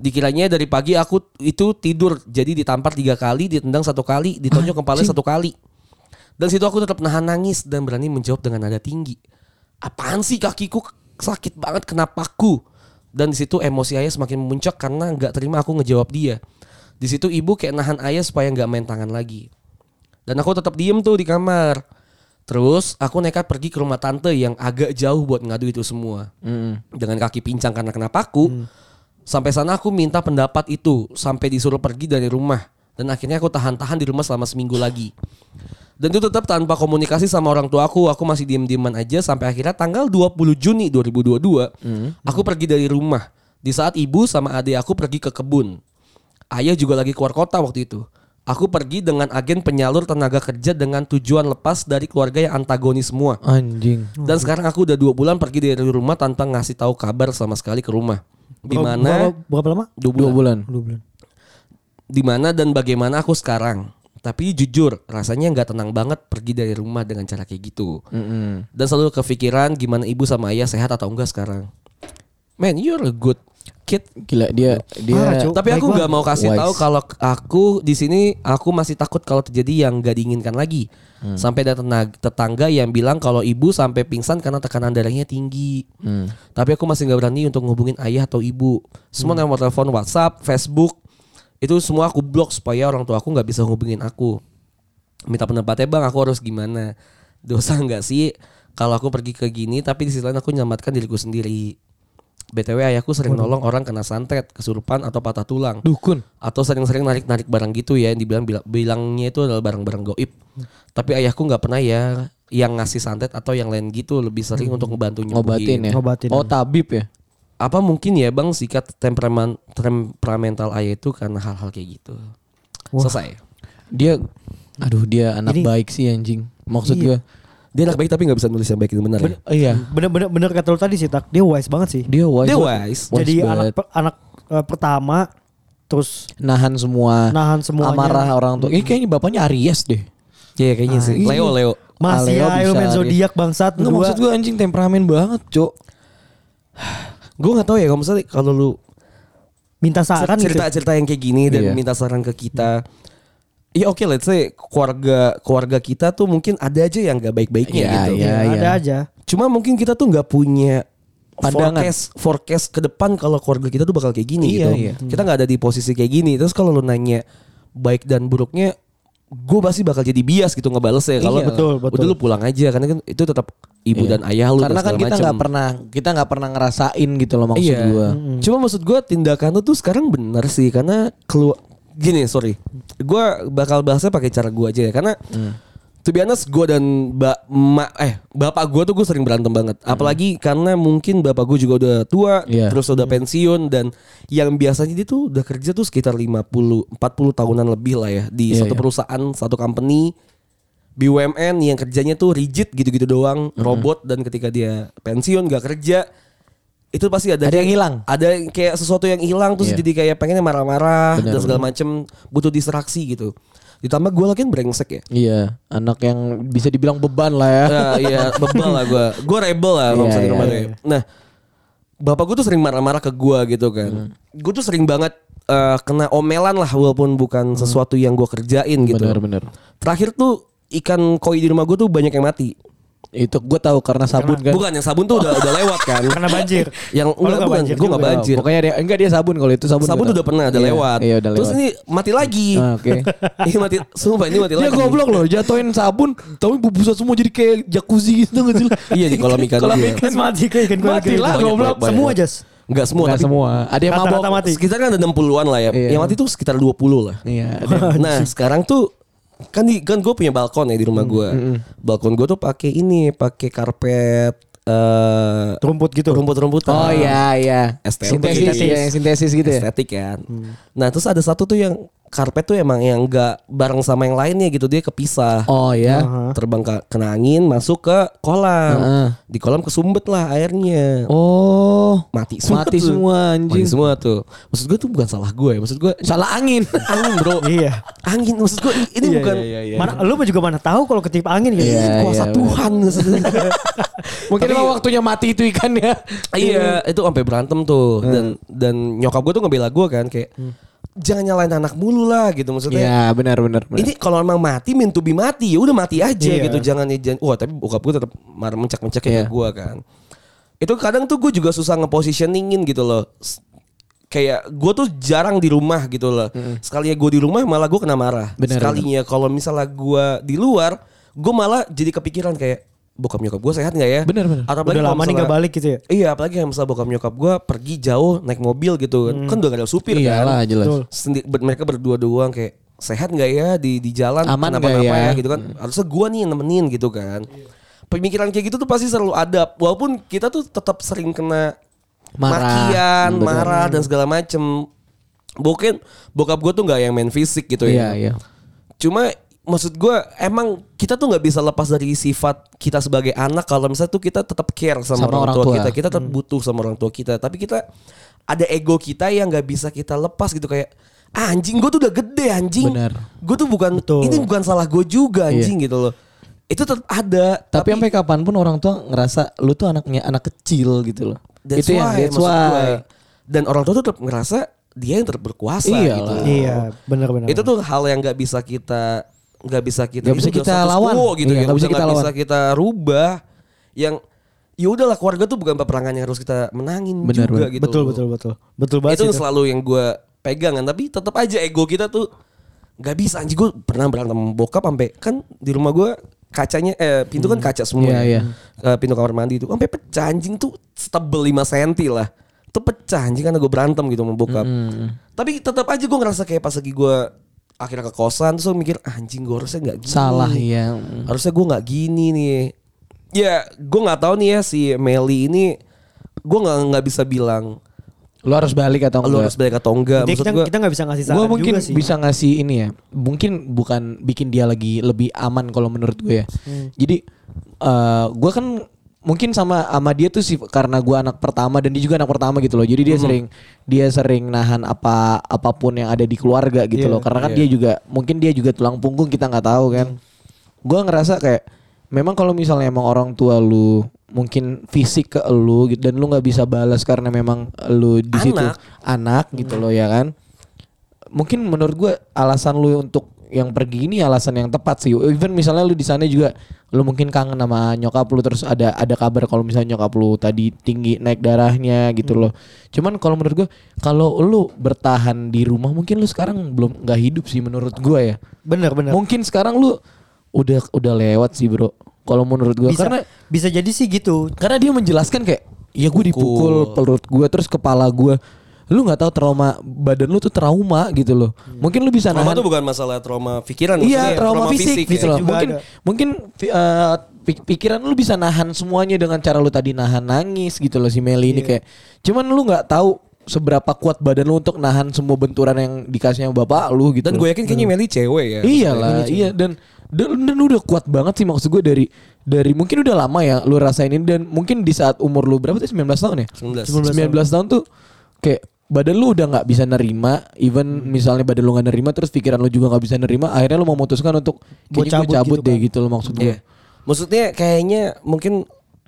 S2: Dikiranya dari pagi aku itu tidur jadi ditampar tiga kali, ditendang satu kali, ditonjok kepala satu kali. Dan situ aku tetap nahan nangis dan berani menjawab dengan nada tinggi. Apaan sih kakiku sakit banget kena paku? Dan di situ emosi ayah semakin memuncak karena nggak terima aku ngejawab dia. Di situ ibu kayak nahan ayah supaya nggak main tangan lagi. Dan aku tetap diem tuh di kamar. Terus aku nekat pergi ke rumah tante yang agak jauh buat ngadu itu semua. Dengan kaki pincang karena kena paku. Sampai sana aku minta pendapat itu sampai disuruh pergi dari rumah. Dan akhirnya aku tahan-tahan di rumah selama seminggu lagi. Dan itu tetap tanpa komunikasi sama orang tua aku, aku masih diem-dieman aja sampai akhirnya tanggal 20 Juni 2022, aku pergi dari rumah. Di saat ibu sama adik aku pergi ke kebun. Ayah juga lagi keluar kota waktu itu. Aku pergi dengan agen penyalur tenaga kerja dengan tujuan lepas dari keluarga yang antagonis semua.
S3: Anjing.
S2: Dan sekarang aku udah dua bulan pergi dari rumah tanpa ngasih tahu kabar sama sekali ke rumah. Di
S4: Berapa-
S2: mana?
S4: berapa- Berapa lama?
S3: Dua
S2: Dua bulan.
S3: bulan.
S4: Dua bulan.
S2: Di mana dan bagaimana aku sekarang? Tapi jujur, rasanya nggak tenang banget pergi dari rumah dengan cara kayak gitu. Dan selalu kepikiran gimana ibu sama ayah sehat atau enggak sekarang. Man, you're a good kid.
S3: Gila dia dia
S4: Parah, Cuk.
S2: Iya, Tapi aku
S4: Baik
S2: nggak mau kasih
S3: Wise.
S2: tahu kalau k- aku di sini aku masih takut kalau terjadi yang nggak diinginkan lagi.
S4: Hmm.
S2: Sampai ada tenag- tetangga yang bilang kalau ibu sampai pingsan karena tekanan darahnya tinggi.
S4: Hmm.
S2: Tapi aku masih nggak berani untuk ngubungin ayah atau ibu. Semua
S4: Hmm.
S2: nomor telepon WhatsApp, Facebook itu semua aku blok supaya orang tua aku nggak bisa hubungin aku. Minta pendapatnya bang, aku harus gimana? Dosa nggak sih kalau aku pergi ke gini? Tapi di sisi lain aku menyelamatkan diriku sendiri. BTW ayahku sering nolong orang kena santet, kesurupan atau patah tulang.
S3: Dukun.
S2: Atau sering-sering narik-narik barang gitu ya yang dibilang bila- bilangnya itu adalah barang-barang goib. Tapi ayahku nggak pernah ya yang ngasih santet atau yang lain gitu lebih sering untuk ngebantu nyembuhin.
S3: Ngobatin ya.
S4: Ngobatin.
S3: Oh tabib ya.
S2: Apa mungkin ya Bang sikat temperamen temperamental ayah itu karena hal-hal kayak gitu. Selesai.
S3: Dia aduh dia anak baik sih anjing. Maksud gua
S2: Dia anak baik tapi nggak bisa nulis yang baik dan benar. ya?
S3: iya.
S4: Bener-bener bener kata lu tadi sih tak. Dia wise banget sih.
S3: Dia wise.
S2: Dia
S3: banget.
S2: wise.
S3: Wise
S4: Jadi anak
S3: banget.
S4: per- anak eh, pertama terus
S3: nahan semua
S4: Nahan semuanya.
S3: Nah, amarah orang tua. Ini kayaknya bapaknya Aries deh.
S2: Iya kayaknya sih. Leo Leo.
S4: masih
S3: Aleo
S4: ayo
S3: bisa
S4: main
S3: dia-
S4: zodiak bangsat
S3: Enggak
S4: berdua.
S3: maksud gua anjing temperamen banget, Cok.
S2: Gue nggak tahu ya kalau misalnya kalau lu
S4: minta saran gitu.
S2: cerita cerita yang kayak gini dan
S3: Iya.
S2: minta saran ke kita. Ya oke let's say keluarga keluarga kita tuh mungkin ada aja yang gak baik-baiknya
S3: Iya,
S2: gitu.
S3: iya.
S4: Ada aja.
S2: Cuma mungkin kita tuh nggak punya
S3: Pandangan.
S2: forecast forecast ke depan kalau keluarga kita tuh bakal kayak gini
S3: Iya,
S2: gitu.
S3: iya.
S2: Kita nggak ada di posisi kayak gini. Terus kalau lu nanya baik dan buruknya gue pasti bakal jadi bias gitu ngebales ya kalau
S4: Iya, betul, betul.
S2: udah lu pulang aja karena kan itu tetap ibu
S3: Iya.
S2: dan ayah lu dan
S3: Karena kan
S2: segala
S3: kita
S2: macem.
S3: nggak pernah kita nggak pernah ngerasain gitu loh maksud
S2: iya.
S3: gua.
S2: Cuma maksud gue tindakan lu tuh sekarang bener sih karena keluar gini sorry, gue bakal bahasnya pakai cara gue aja ya karena
S3: Hmm.
S2: to be honest gue dan ba ma- eh bapak gue tuh gue sering berantem banget. Apalagi karena mungkin bapak gue juga udah tua,
S3: Hmm. Iya.
S2: terus udah pensiun dan yang biasanya dia tuh udah kerja tuh sekitar 50 40 tahunan lebih lah ya di
S3: Iya,
S2: satu
S3: iya.
S2: perusahaan, satu company BUMN yang kerjanya tuh rigid gitu-gitu doang,
S3: Hmm.
S2: robot dan ketika dia pensiun gak kerja itu pasti ada
S3: Ada yang hilang.
S2: ada yang kayak sesuatu yang hilang terus
S3: Iya.
S2: jadi kayak pengennya marah-marah
S3: Benar,
S2: dan segala macem butuh distraksi gitu ditambah gue lagi brengsek ya
S3: Iya, anak yang bisa dibilang beban lah ya.
S2: Ya, iya bebel lah gue gue rebel lah
S3: Iya,
S2: kalau misalnya di
S3: iya,
S2: rumah tuh ya. nah bapak gue tuh sering marah-marah ke gue gitu kan
S3: Hmm.
S2: gue tuh sering banget eh, kena omelan lah walaupun
S3: Hmm.
S2: bukan sesuatu yang gue kerjain gitu
S3: Benar-benar.
S2: terakhir tuh ikan koi di rumah gue tuh banyak yang mati
S3: Itu gua tahu karena sabun kan.
S2: Iya. bukan yang sabun tuh udah udah lewat
S3: *laughs*
S2: kan
S4: Karena banjir.
S2: yang
S4: Oh, lu
S2: enggak bukan
S4: nggak banjir
S2: gue gak
S4: juga.
S2: banjir
S3: Iya, Pokoknya dia enggak dia sabun kalau itu sabun.
S2: sabun
S3: gua
S2: tuh udah
S3: tahu.
S2: pernah udah
S3: Iya,
S2: lewat.
S3: Iya, udah
S2: Terus
S3: lewat.
S2: ini mati lagi.
S3: Ah, oke.
S2: *laughs* ini mati sumpah ini mati
S3: Dia
S2: lagi.
S3: goblok loh, jatuhin sabun, tapi bubusan semua jadi kayak jacuzzi gitu nggak sih? lu?
S2: *laughs* Iya di kolam ikan.
S3: Kolam
S2: iya.
S3: ikan.
S4: Kan mati kayak kan
S3: Mati lah, goblok.
S4: Semua jas.
S2: Enggak semua
S3: Nggak
S2: tapi
S3: semua. Ada yang
S4: Rata-rata
S3: mabok.
S4: mati.
S2: sekitar kan ada 60-an lah ya.
S3: Iya.
S2: Yang mati tuh sekitar 20 lah.
S3: Iya.
S2: *laughs*
S3: ada yang-
S2: nah, sekarang tuh kan di kan gue punya balkon ya di rumah
S3: Hmm,
S2: gue. Balkon gue tuh pakai ini, pakai karpet eh
S4: Rumput gitu.
S2: rumput-rumputan.
S3: Oh iya iya.
S2: STP.
S3: Sintesis,
S4: Sintesis.
S3: iya, yang sintesis gitu ya.
S2: estetik kan. Nah, terus ada satu tuh yang karpet tuh emang yang enggak bareng sama yang lainnya gitu, dia kepisah.
S3: Oh
S2: Nah.
S3: ya.
S4: Aha.
S2: terbang ke, kena angin masuk ke kolam
S3: Heeh.
S2: di kolam kesumbet lah airnya
S3: Oh.
S2: mati semua
S3: Mati
S2: tuh.
S3: semua, anjing.
S2: mati semua tuh maksud gue tuh bukan salah gue ya. maksud gue
S3: Salah angin.
S2: *laughs* angin bro
S4: Iya.
S2: angin maksud gue ini
S4: Iya,
S2: bukan
S4: iya, iya. Mana lu juga mana tahu kalau ketip angin gitu.
S3: Iya,
S2: kuasa
S3: iya,
S2: Tuhan
S3: Mungkin emang waktunya mati itu ikan ya.
S2: *laughs* Iya, itu sampai berantem tuh dan dan nyokap gue tuh ngebela gue kan kayak jangan nyalain anak mulu lah gitu maksudnya.
S3: Iya, benar benar benar.
S2: Ini kalau emang mati min to be mati ya udah mati aja
S4: Iya.
S2: gitu jangan ya jangan. Wah, tapi bokap gue tetap marah mencak-mencak kayak
S3: Iya.
S2: gue kan. Itu kadang tuh gue juga susah ngepositioningin gitu loh. S- Kayak gue tuh jarang di rumah gitu loh. Sekalinya gue di rumah malah gue kena marah.
S3: Benar,
S2: Sekalinya kalau misalnya gue di luar, gue malah jadi kepikiran kayak bokap nyokap gue sehat nggak ya?
S3: Benar, benar.
S2: Atau apalagi
S4: Udah
S2: kalau
S4: lama nih
S2: misalnya-
S4: gak balik gitu ya.
S2: Iya apalagi yang misalnya bokap nyokap gue pergi jauh naik mobil gitu kan. Kan udah gak ada supir
S3: Iyalah
S2: kan
S3: Hmm. Iya jelas.
S4: Betul.
S2: Sendi- ber- Mereka berdua doang kayak sehat gak ya di di jalan
S3: Aman nggak
S2: kenapa-napa
S3: ya? Iya.
S2: gitu kan Harusnya gue nih yang nemenin gitu kan Pemikiran kayak gitu tuh pasti selalu ada Walaupun kita tuh tetap sering kena
S3: Marah.
S2: Makian,
S3: Hmm, betul.
S2: marah dan segala macem Mungkin bokap gue tuh gak yang main fisik gitu
S3: Iya,
S2: ya
S3: iya.
S2: Cuma maksud gue emang kita tuh nggak bisa lepas dari sifat kita sebagai anak kalau misalnya tuh kita tetap care sama, orang, tua, kita, kita tetap
S3: Hmm.
S2: butuh sama orang tua kita. Tapi kita ada ego kita yang nggak bisa kita lepas gitu kayak "Ah, anjing gue tuh udah gede anjing.
S3: Benar. Iya.
S2: Gue tuh bukan
S4: Betul.
S2: ini bukan salah gue juga anjing gitu loh. Itu tetap ada.
S3: Tapi sampai kapanpun orang tua ngerasa lu tuh anaknya anak kecil gitu loh.
S2: that's
S3: itu yang
S2: why,
S3: that's
S2: maksud gua.
S3: why.
S2: Dan orang tua tuh tetap ngerasa dia yang terberkuasa
S3: Iyalah.
S2: gitu.
S4: Iya, benar-benar.
S2: itu tuh hal yang nggak bisa kita nggak bisa
S3: Nggak
S2: kita itu
S3: bisa
S2: udah
S3: kita
S2: status
S3: lawan.
S2: quo gitu
S3: Iya,
S2: ya
S3: nggak
S2: bisa
S3: bisa kita
S2: nggak bisa
S3: lawan.
S2: kita rubah yang ya udahlah keluarga tuh bukan peperangan yang harus kita menangin
S3: Benar,
S2: juga
S3: benar.
S2: gitu
S4: Betul, betul, betul. Betul banget
S2: itu
S4: sih
S2: selalu yang gue pegangan tapi tetap aja ego kita tuh nggak bisa anjing gue pernah berantem sama bokap sampai kan di rumah gue kacanya eh pintu kan kaca semua
S3: Iya,
S2: ya.
S3: iya.
S2: Eh, pintu kamar mandi itu sampai pecah anjing tuh setebel 5 cm lah itu pecah anjing karena gue berantem gitu sama bokap.
S3: Hmm,
S2: Tapi tetap aja gue ngerasa kayak pas lagi gue akhirnya ke kosan terus gue mikir "Ah, anjing gue harusnya nggak gini.
S3: Salah ya.
S2: Harusnya gue nggak gini nih. Ya gue nggak tahu nih ya si Meli ini gue nggak nggak bisa bilang
S3: Lu harus balik atau
S2: lu
S3: enggak?
S2: harus balik atau enggak.
S4: Jadi
S2: Maksud
S4: kita
S2: gue
S4: kita nggak bisa ngasih saran
S3: Gue mungkin
S4: juga sih.
S3: bisa ngasih ini ya. Mungkin bukan bikin dia lagi lebih aman kalau menurut gue ya.
S4: Hmm.
S3: Jadi eh gue kan mungkin sama sama dia tuh sih karena gue anak pertama dan dia juga anak pertama gitu loh. Jadi dia
S4: Hmm.
S3: sering dia sering nahan apa apapun yang ada di keluarga gitu
S4: Iya,
S3: loh. Karena kan dia juga mungkin dia juga tulang punggung kita nggak tahu kan.
S4: Hmm.
S3: Gue ngerasa kayak memang kalau misalnya emang orang tua lu mungkin fisik ke lu gitu dan lu nggak bisa balas karena memang lu di situ
S2: Anak.
S3: anak gitu loh ya kan mungkin menurut gue alasan lu untuk yang pergi ini alasan yang tepat sih. Even misalnya lu di sana juga lu mungkin kangen sama nyokap lu terus ada ada kabar kalau misalnya nyokap lu tadi tinggi naik darahnya gitu
S4: Hmm.
S3: loh. Cuman kalau menurut gue kalau lu bertahan di rumah mungkin lu sekarang belum nggak hidup sih menurut gue ya.
S4: Bener bener.
S3: Mungkin sekarang lu udah udah lewat sih, Bro. Kalau menurut gue
S4: Bisa,
S3: karena
S4: bisa jadi sih gitu.
S3: karena dia menjelaskan kayak ya gue dipukul perut gue terus kepala gue lu nggak tahu trauma badan lu tuh trauma gitu loh mungkin lu bisa
S2: Hmm. trauma
S3: nahan
S2: tuh bukan masalah trauma pikiran
S3: iya
S2: maksudnya
S3: trauma, fisik, gitu
S2: ya.
S3: loh
S4: Juga
S3: mungkin
S4: ada.
S3: mungkin eh, pik- pikiran lu bisa nahan semuanya dengan cara lu tadi nahan nangis gitu loh si Meli ini kayak
S2: Iya.
S3: cuman lu nggak tahu seberapa kuat badan lu untuk nahan semua benturan yang dikasihnya bapak lu gitu
S2: Dan
S3: loh.
S2: gue yakin
S4: Hmm.
S2: kayaknya Meli cewek ya.
S3: Iyalah, iya dan, dan dan udah kuat banget sih maksud gue dari dari mungkin udah lama ya lu rasain ini dan mungkin di saat umur lu berapa tuh 19 tahun ya?
S2: 19.
S3: 19 tahun tuh kayak badan lu udah nggak bisa nerima, even misalnya badan lu nggak nerima terus pikiran lu juga nggak bisa nerima, akhirnya lu memutuskan untuk
S4: Buat
S3: kayaknya gue
S4: cabut
S3: cabut
S4: gitu
S3: deh
S4: kan.
S3: gitu loh maksud gue.
S2: Iya. Maksudnya kayaknya mungkin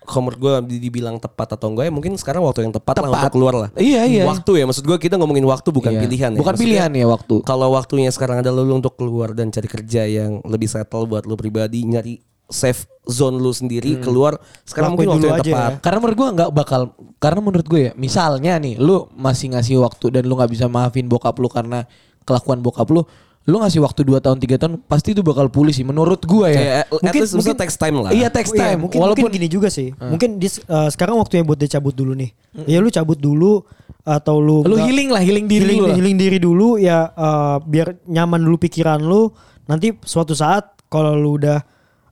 S2: komor gue dibilang tepat atau enggak ya mungkin sekarang waktu yang tepat, lah untuk keluar lah.
S3: Iya, iya.
S2: Waktu ya maksud gue kita ngomongin waktu bukan
S3: Iya.
S2: pilihan ya.
S3: Bukan
S2: Maksudnya,
S3: pilihan ya waktu.
S2: Kalau waktunya sekarang ada lu untuk keluar dan cari kerja yang lebih settle buat lu pribadi nyari safe zone lu sendiri
S3: Hmm.
S2: keluar sekarang mungkin
S4: Lakuin
S2: waktu
S4: dulu
S2: yang
S4: aja ya.
S2: tepat.
S3: Karena menurut gue nggak bakal karena menurut gue ya, misalnya nih lu masih ngasih waktu dan lu nggak bisa maafin bokap lu karena kelakuan bokap lu, lu ngasih waktu 2 tahun 3 tahun pasti itu bakal pulih sih menurut gue ya.
S2: Kayak, at least maksudnya text time lah.
S3: Iya, text
S4: Iya,
S3: time.
S4: mungkin,
S3: walaupun Hmm.
S4: mungkin gini juga sih. Mungkin dis- eh, sekarang waktunya buat dia cabut dulu nih. Ya lu cabut dulu atau lu
S3: lu
S4: nggak-
S3: healing lah, healing diri
S4: healing,
S3: lu. lah.
S4: healing diri dulu ya eh, biar nyaman dulu pikiran lu. Nanti suatu saat kalau lu udah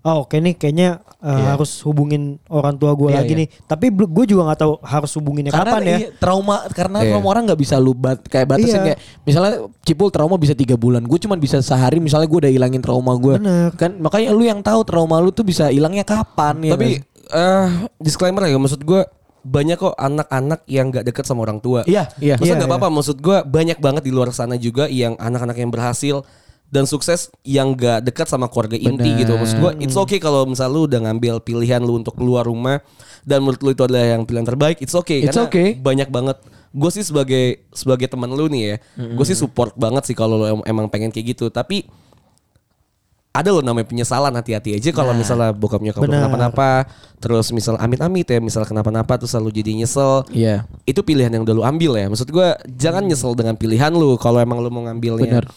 S4: oh oke nih kayaknya eh,
S3: Iya.
S4: harus hubungin orang tua gue
S3: Iya,
S4: lagi
S3: iya.
S4: nih. Tapi gue juga nggak tahu harus hubunginnya
S3: karena
S4: kapan ya.
S3: iya, trauma karena
S2: Iya.
S3: trauma orang nggak bisa lu bat, kayak batasin
S4: Iya.
S3: kayak misalnya cipul trauma bisa tiga bulan gue cuman bisa sehari misalnya gue udah hilangin trauma gue
S4: Bener.
S3: kan makanya lu yang tahu trauma lu tuh bisa hilangnya kapan ya
S2: Tapi
S3: kan?
S2: eh disclaimer ya maksud gue banyak kok anak-anak yang nggak deket sama orang tua.
S3: Iya, iya.
S2: Maksudnya
S4: Iya,
S2: nggak
S4: iya.
S2: apa-apa. Maksud gue banyak banget di luar sana juga yang anak-anak yang berhasil dan sukses yang nggak dekat sama keluarga inti
S3: Bener.
S2: gitu. Maksud gue it's
S3: Hmm.
S2: okay kalau misal lu udah ngambil pilihan lu untuk keluar rumah dan menurut lu itu adalah yang pilihan terbaik. It's okay.
S3: It's
S2: karena
S3: okay.
S2: banyak banget. Gue sih sebagai sebagai teman lu nih ya, gue sih support banget sih kalau lu em- emang pengen kayak gitu. Tapi ada loh namanya penyesalan hati-hati aja
S3: Nah,
S2: kalau misalnya bokap nyokap lu
S4: Benar.
S2: kenapa-napa terus misal amit-amit ya misal kenapa-napa terus selalu jadi nyesel
S3: Iya. Hmm.
S2: itu pilihan yang udah lu ambil ya maksud gua jangan nyesel dengan pilihan lu kalau emang lu mau ngambilnya
S3: Benar.